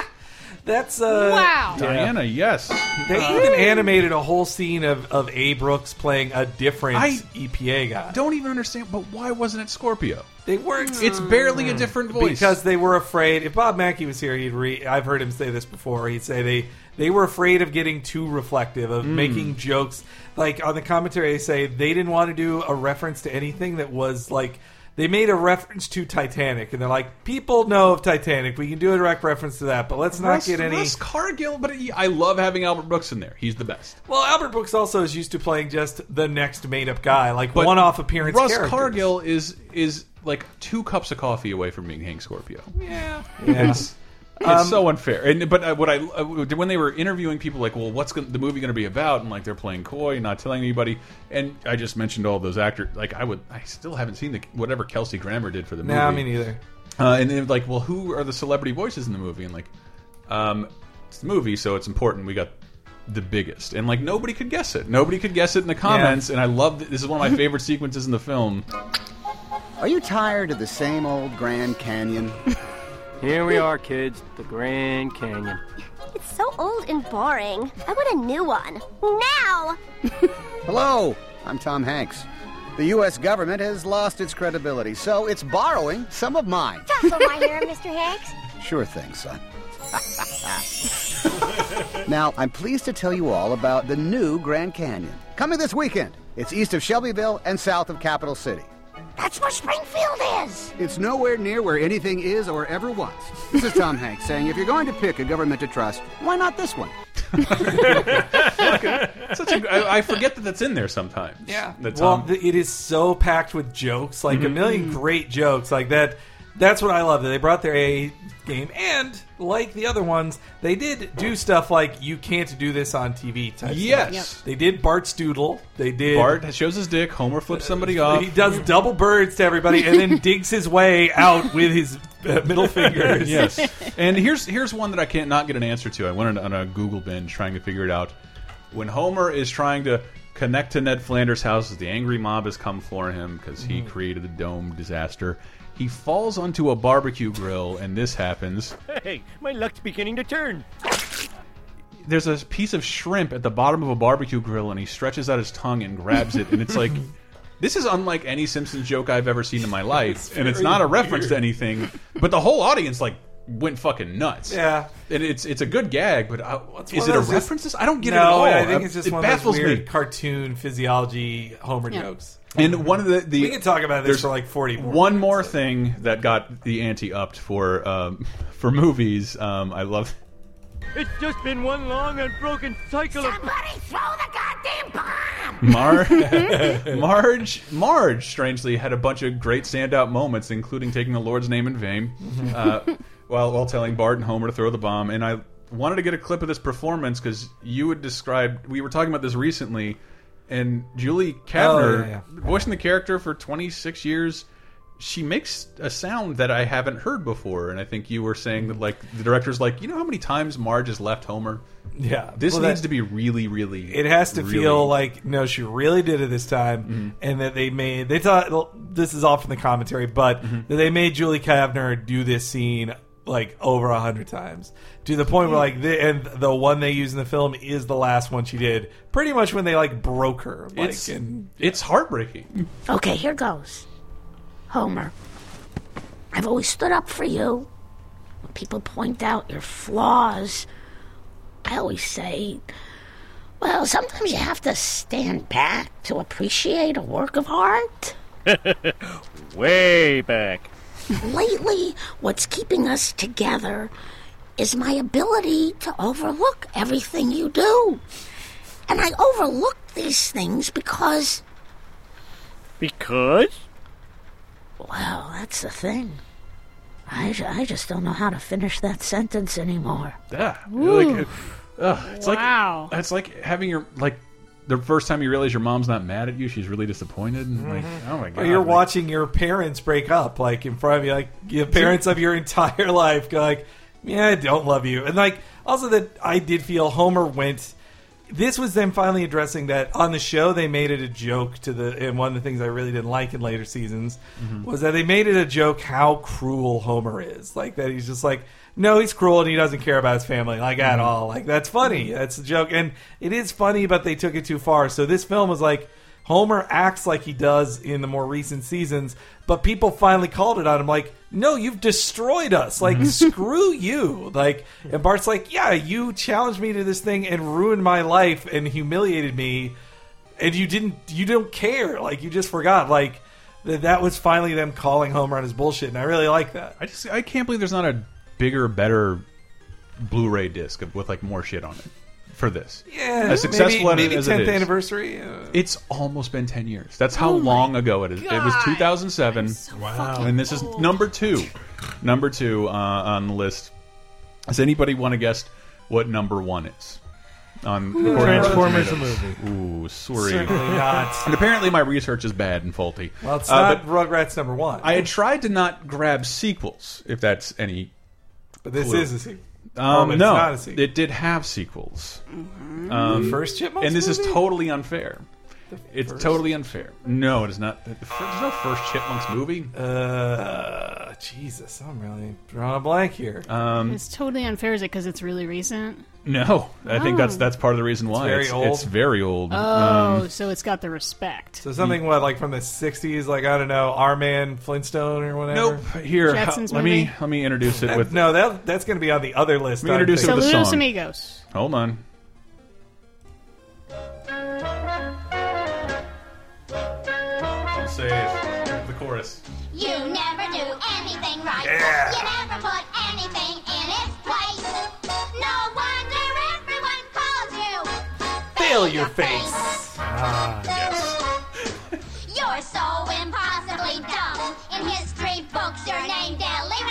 E: That's uh,
D: Wow.
B: Diana, yes.
E: They
B: Uh,
E: even animated a whole scene of, of A. Brooks playing a different
B: I
E: EPA guy.
B: Don't even understand, but why wasn't it Scorpio?
E: They weren't. Mm.
B: It's barely a different voice.
E: because they were afraid. If Bob Mackey was here, he'd re- I've heard him say this before. He'd say they they were afraid of getting too reflective, of
B: Mm.
E: making jokes. Like on the commentary, they say they didn't want to do a reference to anything that was like. They made a reference to Titanic, and they're like, "People know of Titanic. We can do a direct reference to that, but let's not
B: Russ-
E: get any."
B: Russ Cargill, but he- I love having Albert Brooks in there. He's the best.
E: Well, Albert Brooks also is used to playing just the next made-up guy, like one-off appearance.
B: Russ
E: characters.
B: Cargill is is like two cups of coffee away from being Hank Scorpio.
E: Yeah.
B: It's, it's
E: Um,
B: so unfair. And but uh, what I uh, when they were interviewing people, like, well, what's gonna, the movie going to be about? And like they're playing coy, not telling anybody. And I just mentioned all those actors. Like I would, I still haven't seen the whatever Kelsey Grammer did for the movie.
E: Nah, me neither.
B: Uh, and then like, well, who are the celebrity voices in the movie? And like, um, it's the movie, so it's important. We got the biggest, and like nobody could guess it. Nobody could guess it in the comments. And I love that this is one of my favorite sequences in the film.
F: Are you tired of the same old Grand Canyon?
N: Here we are, kids, the Grand Canyon.
U: It's so old and boring. I want a new one. Now!
F: Hello, I'm Tom Hanks. The U.S. government has lost its credibility, so it's borrowing some of mine.
U: Tussle my hair, Mr. Hanks.
F: Sure thing, son. now, I'm pleased to tell you all about the new Grand Canyon. Coming this weekend, it's east of Shelbyville and south of Capital City.
U: That's where Springfield is!
F: It's nowhere near where anything is or ever was. This is Tom Hanks saying if you're going to pick a government to trust, why not this one?
B: Such a, I, I forget that that's in there sometimes. Yeah. That's
E: well,
B: on-
E: th- it is so packed with jokes, like a
B: Mhm.
E: million great jokes, like that. That's what I love. That they brought their A game, and like the other ones, they did do stuff like you can't do this on TV. Type
B: Yes.
E: stuff. they did Bart's doodle. They did Uh,
B: Bart shows his dick. Homer flips somebody off.
E: He does double birds to everybody, and then digs his way out with his uh, middle fingers.
B: yes. And here's here's one that I can't not get an answer to. I went on, on a Google binge trying to figure it out. When Homer is trying to connect to Ned Flanders' house, as the angry mob has come for him because he
E: Mhm.
B: created the dome disaster. He falls onto a barbecue grill, and this happens.
L: Hey, my luck's beginning to turn.
B: There's a piece of shrimp at the bottom of a barbecue grill, and he stretches out his tongue and grabs it, and it's like. This is unlike any Simpsons joke I've ever seen in my life, and it's
E: very
B: not a reference to
E: weird.
B: anything. But the whole audience like went fucking nuts.
E: Yeah.
B: and it's it's a good gag, but I,
E: It's
B: is
E: one
B: it a
E: of those just-
B: reference? I don't get it
E: no,
B: at all. Uh,
E: I think it's just
B: it
E: one
B: baffles
E: of those weird
B: me.
E: cartoon physiology Homer jokes.
B: And one of the, the
E: we can talk about this
B: there's
E: for like forty more.
B: One more thing that got the ante upped for um, for movies. Um, I love
L: It's just been one long, unbroken cycle of.
I: Somebody throw the goddamn bomb!
B: Mar Marge. Marge, strangely, had a bunch of great standout moments, including taking the Lord's name in vain,
E: Mm-hmm.
B: uh, while while telling Bart and Homer to throw the bomb. And I wanted to get a clip of this performance because you had described. We were talking about this recently, and Julie Kavner,
E: Oh, yeah,
B: voicing the character for 26 years. She makes a sound that I haven't heard before, and I think you were saying that, like, the director's like, you know how many times Marge has left Homer?
E: Yeah.
B: this
E: Well, that-
B: needs to be really, really.
E: It has to
B: really Mm-hmm.
E: feel like no, she really did it this time, and that they made they thought this is all from the commentary, but
B: Mm-hmm.
E: that they made Julie Kavner do this scene like over a hundred times to the point where like the, and the one they use in the film is the last one she did, pretty much when they like broke her. Like,
B: It's-
E: and
B: it's heartbreaking.
N: Okay, here goes. Homer, I've always stood up for you. When people point out your flaws, I always say, well, sometimes you have to stand back to appreciate a work of art.
L: Way back.
N: Lately, what's keeping us together is my ability to overlook everything you do. And I overlook these things because
L: Because?
N: Well, that's the thing. I, ju- I just don't know how to finish that sentence anymore.
B: Yeah.
N: Ooh.
B: Like, ugh, it's
N: Wow.
B: like it's like having your like the first time you realize your mom's not mad at you, she's really disappointed. And like, oh my god,
E: Or Mm-hmm. you're
B: like,
E: watching your parents break up, like in front of you, like your parents of your entire life go like, "Yeah, I don't love you," and like also that I did feel Homer went. this was them finally addressing that on the show they made it a joke to the and one of the things i really didn't like in later seasons
B: Mm-hmm.
J: Mhm.
E: was that they made it a joke how cruel homer is like that he's just like no he's cruel and he doesn't care about his family like
B: Mm-hmm.
E: at
J: Mhm.
E: all like that's funny that's a joke and it is funny but they took it too far so this film was like homer acts like he does in the more recent seasons but people finally called it on him like no you've destroyed us like
B: Mm-hmm.
E: screw you like and bart's like yeah you challenged me to this thing and ruined my life and humiliated me and you didn't you don't care like you just forgot like that that was finally them calling homer on his bullshit and i really like that
B: i just i can't believe there's not a bigger, better Blu-ray disc of, with like more shit on it for this.
E: Yeah,
B: as successful
E: maybe,
B: as, as
E: maybe
B: it
E: 10th
B: is.
E: anniversary uh,
B: It's almost been ten years. That's how
E: Oh my
B: long ago it is. It was
E: God.
B: 2007.
E: fucking
B: And this is number two, number two uh, on the list. Does anybody want to guess what number one is? On
C: Ooh.
B: according to
C: Transformers the
B: Tomatoes. Ooh, sorry.
E: Certainly not.
B: And apparently my research is bad and faulty.
E: well it's
B: Uh,
E: not rugrats number one
B: I had tried to not grab sequels, if that's any.
E: But this
B: clue.
E: is a sequel. Oh,
B: Um,
E: but it's
B: no,
E: not a sequel.
B: it did have sequels. Um,
E: Mhm. The first Chipmunks
B: and this
E: movie?
B: is totally unfair. It's
E: first
B: totally unfair. No, it is not. the fir- There's no first Chipmunks movie.
E: Uh, jesus i'm really drawing a blank here
B: Um,
D: It's totally unfair, is it? Because it's really recent.
B: no, I think that's
D: Oh.
B: that's part of the reason why
E: very
B: it's
E: old.
B: It's very old.
D: Oh,
B: Um,
D: so it's got the respect.
E: so something what like from the 60s like i don't know our man flintstone or whatever
B: nope. Here, how-
D: Jackson's
B: let
D: movie?
B: me let me introduce it
E: That-
B: with.
E: no that, that's going to be on the other list
B: Let me introduce it with a
D: Saludos
B: song.
D: amigos.
B: Hold on. I'll say it. The chorus.
U: You never do anything right.
B: Yeah.
U: You never put anything in its place. No wonder everyone calls you.
E: fail your face ah yes
U: You're so impossibly dumb. In history books, your name delirates.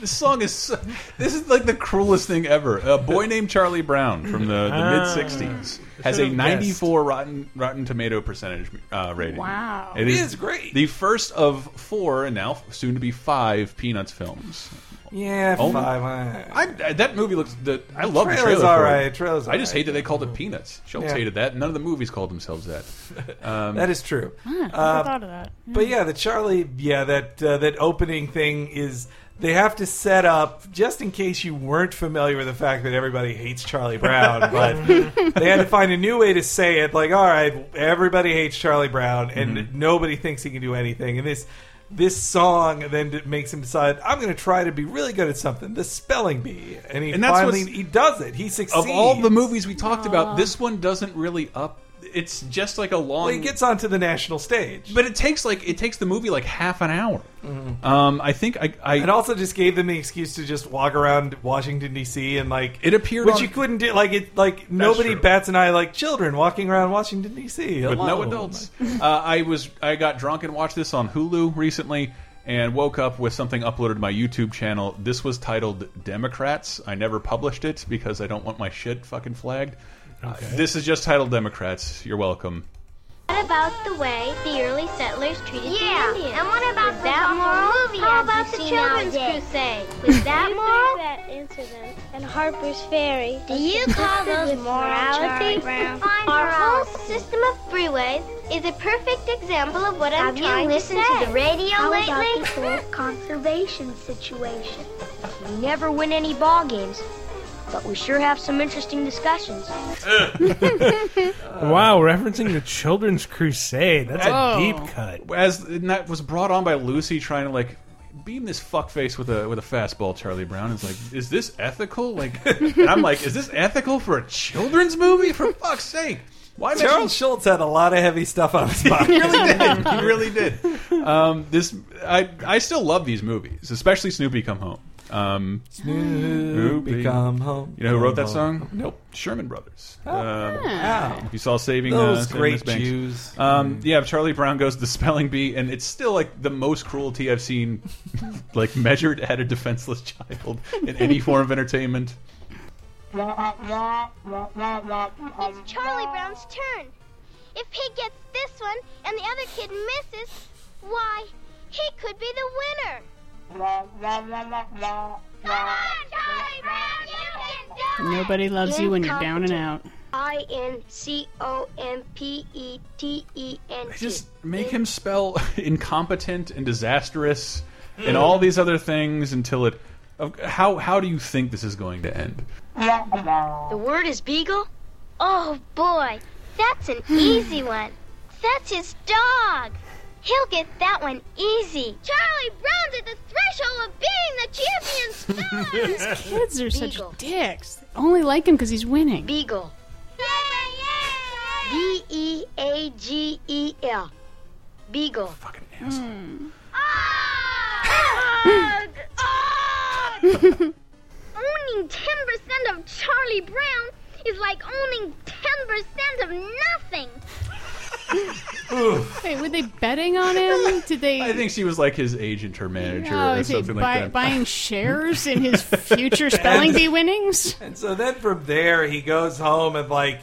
B: This song is so, this is like the cruelest thing ever. A boy named Charlie Brown from the, the
E: Ah.
B: mid '60s has
E: Should've
B: a
E: guessed.
B: 94 Rotten Rotten Tomato percentage uh, rating.
E: Wow.
B: it
E: It
B: is,
E: is great.
B: The first of four and now soon to be five Peanuts films.
E: yeah
B: Oh,
E: five
B: I, I- that movie looks. The, I love the
E: Trailer's
B: trailer. for
E: alright,
B: it.
E: trailer's
B: I just
E: alright.
B: hate that they called it Peanuts. Schultz
E: Yeah.
B: hated that. None of the movies called themselves that. Um,
E: That is true.
D: Huh, never
E: Uh,
D: thought of that.
E: But yeah, the Charlie, yeah, that uh, that opening thing is they have to set up just in case you weren't familiar with the fact that everybody hates Charlie Brown, but they had to find a new way to say it. Like, all right, everybody hates Charlie Brown, and
B: Mm-hmm.
E: nobody thinks he can do anything, and this. This song then d- makes him decide I'm going to try to be really good at something, the spelling bee, and he
B: And that's
E: finally
B: what's-
E: he does it. He succeeds.
B: of all the movies we talked
E: Aw.
B: about, this one doesn't really up. It's just like a long.
E: Well, he gets onto the national stage, Mm-hmm.
B: but it takes like it takes the movie like half an hour. Um, I think I, I
E: It also just gave them the excuse to just walk around Washington D.C. and like
B: It appeared
E: which
B: on-
E: you couldn't do. Like it, like nobody
B: true.
E: bats an eye. Like children walking around Washington D.C.
B: with no
E: alone.
B: adults. uh, I was I got drunk and watched this on Hulu recently. And woke up with something uploaded to my YouTube channel. This was titled "Democrats." I never published it because I don't want my shit fucking flagged. Uh,
C: Okay.
B: this is just titled "Democrats." You're welcome.
U: What about the way the early settlers treated the Indians? Yeah, and what about Was that moral? Movie How about the Children's Crusade? Was that moral? That incident and Harper's Ferry. Do you call those morality? Our whole system of freeways is a perfect example of what I'm
P: Have you
U: trying to say.
P: listened to the radio
U: How
P: lately?
U: about this whole conservation situation? We never win any ball games, but we sure have some interesting discussions.
C: wow, referencing the Children's Crusade. That's
B: Whoa.
C: a deep cut.
B: As and that was brought on by Lucy trying to like beam this fuckface with a with a fastball, Charlie Brown is like, is this ethical? Like, and I'm like, is this ethical for a children's movie? For fuck's sake! Why make
E: Charles Schultz had a lot of heavy stuff on his body.
B: he really did. Um, this I I still love these movies, especially Snoopy Come Home. Um,
E: Snoopy Come Home,
B: You know who
E: Come
B: wrote that
E: Home. Oh.
B: song? Nope, Sherman Brothers. Um,
E: yeah.
B: If you saw Saving
E: Those
B: uh, Saving
E: great
B: Miss Banks.
E: Jews.
B: Um, Yeah, Charlie Brown goes to the spelling bee, and it's still like the most cruelty I've seen, like measured at a defenseless child in any form of entertainment.
U: It's Charlie Brown's turn. If he gets this one and the other kid misses, why, he could be the winner. Come on, Charlie Brown, you can
D: Nobody loves you when you're down and out.
U: I N C O M P E T E N T.
B: Just make him spell incompetent and disastrous and all these other things until it. How how do you think this is going to end?
U: The word is beagle? Oh boy, that's an easy one. That's his dog. He'll get that one easy. Charlie Brown's at the threshold of being the champion speller.
D: These kids are such dicks. Only like him because he's winning.
U: Beagle. B E A G E L. Beagle. Fucking
B: asshole.
U: owning 10% of Charlie Brown is like owning 10% of nothing.
D: Wait, were they betting on him? Did they?
B: I think she was like his agent or manager
D: Oh,
B: or
D: is he
B: something
D: buy-
B: like that.
D: buying shares in his future spelling bee winnings?
E: And so then from there he goes home and like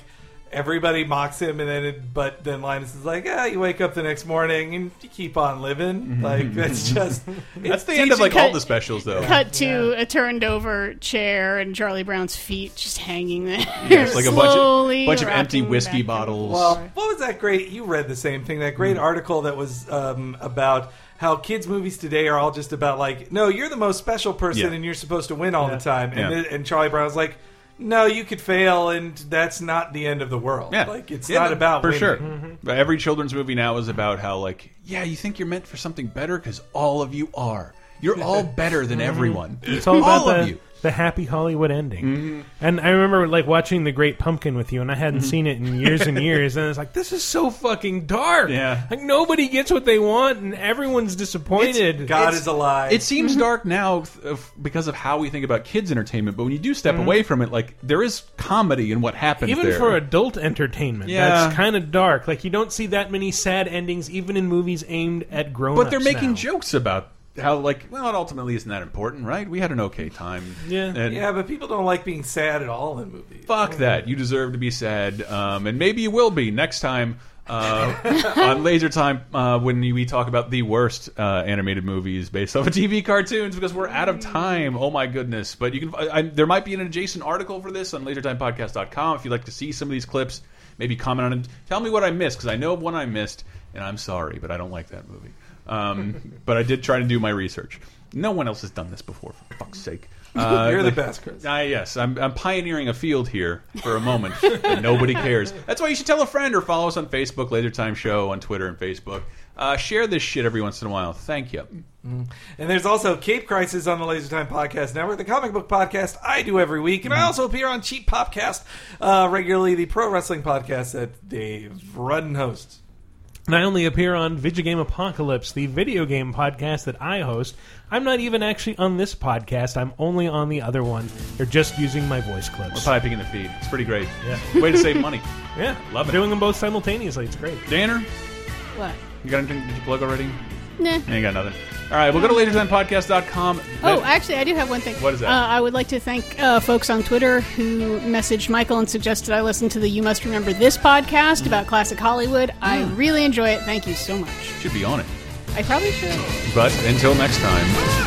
E: everybody mocks him and then it, but then Linus is like, ah, you wake up the next morning and you keep on living. Like that's just
B: Mm-hmm. That's the end of like all the specials though.
D: Cut to a turned over chair and Charlie Brown's feet just hanging there.
B: Yes, like a bunch
D: Slowly
B: of bunch of empty
D: rocking
B: whiskey
D: back.
B: bottles.
E: Well, what was that great? You read the same thing. That
B: Hmm.
E: great article that was um, about how kids' movies today are all just about like, no, you're the most special person
B: Yeah.
E: and you're supposed to win all the time. And,
B: Yeah.
E: th- and Charlie Brown's like, no, you could fail and that's not the end of the world.
B: yeah,
E: Like it's
B: Yeah,
E: not about
B: for
E: winning.
B: sure. But every children's movie now is about how like yeah, you think you're meant for something better because all of you are. You're all better than everyone.
C: Mm-hmm. It's all about
B: of
C: the,
B: you. Mm-hmm.
C: the happy Hollywood ending. And I remember like watching The Great Pumpkin with you, and I hadn't seen it in years and years. And it's like this is so fucking dark.
B: Yeah.
C: like nobody gets what they want, and everyone's disappointed.
B: It's- It seems
C: Mm-hmm.
B: dark now th- of- because of how we think about kids' entertainment, but when you do step
C: Mhm.
B: away from it, like there is comedy in what happens
C: even
B: there.
C: for adult entertainment.
B: Yeah.
C: that's kind of dark. Like you don't see that many sad endings, even in movies aimed at grown.
B: but they're making jokes about how like well, it ultimately isn't that important, right? We had an okay time.
E: Yeah.
B: And-
E: yeah, but people don't like being sad at all in movies.
B: Fuck that. You deserve to be sad, um, and maybe you will be next time uh, on Laser Time uh, when we talk about the worst uh, animated movies based off of TV cartoons because we're out of time. Oh my goodness! But you can I, I, there might be an adjacent article for this on LaserTimePodcast.com if you'd like to see some of these clips. Maybe comment on it. Tell me what I missed because I know one I missed, and I'm sorry, but I don't like that movie. Um, but I did try to do my research. No one else has done this before. For fuck's sake.
E: You're the
B: like-
E: best, Chris.
B: Ah, yes, I'm, I'm pioneering a field here for a moment, and nobody cares. That's why you should tell a friend or follow us on Facebook, Laser Time Show on Twitter and Facebook. Uh, share this shit every once in a while. Thank you.
E: Mm. And there's also Cape Crisis on the Laser Time Podcast Network, the comic book podcast I do every week, and I also appear on Cheap Popcast uh, regularly, the pro wrestling podcast that Dave Rudden hosts.
C: And I only appear on Video Game Apocalypse, the video game podcast that I host. I'm not even actually on this podcast. I'm only on the other one. They're just using my voice clips.
B: We're piping in the feed. It's pretty great.
C: Yeah.
B: Way to save money.
C: Yeah,
B: Love it.
C: Doing them both simultaneously. It's great.
B: Danner,
D: What?
B: you got anything? Did you plug already?
D: Nah.
B: No, you got nothing. All right, we'll go to lasertimepodcast.com.
D: Oh, actually, I do have one thing.
B: What is that?
D: Uh, I would like to thank uh, folks on Twitter who messaged Michael and suggested I listen to the You Must Remember This podcast about classic Hollywood. I
B: Hmm.
D: really enjoy it. Thank you so much.
B: Should be on it.
D: I probably should.
B: But until next time.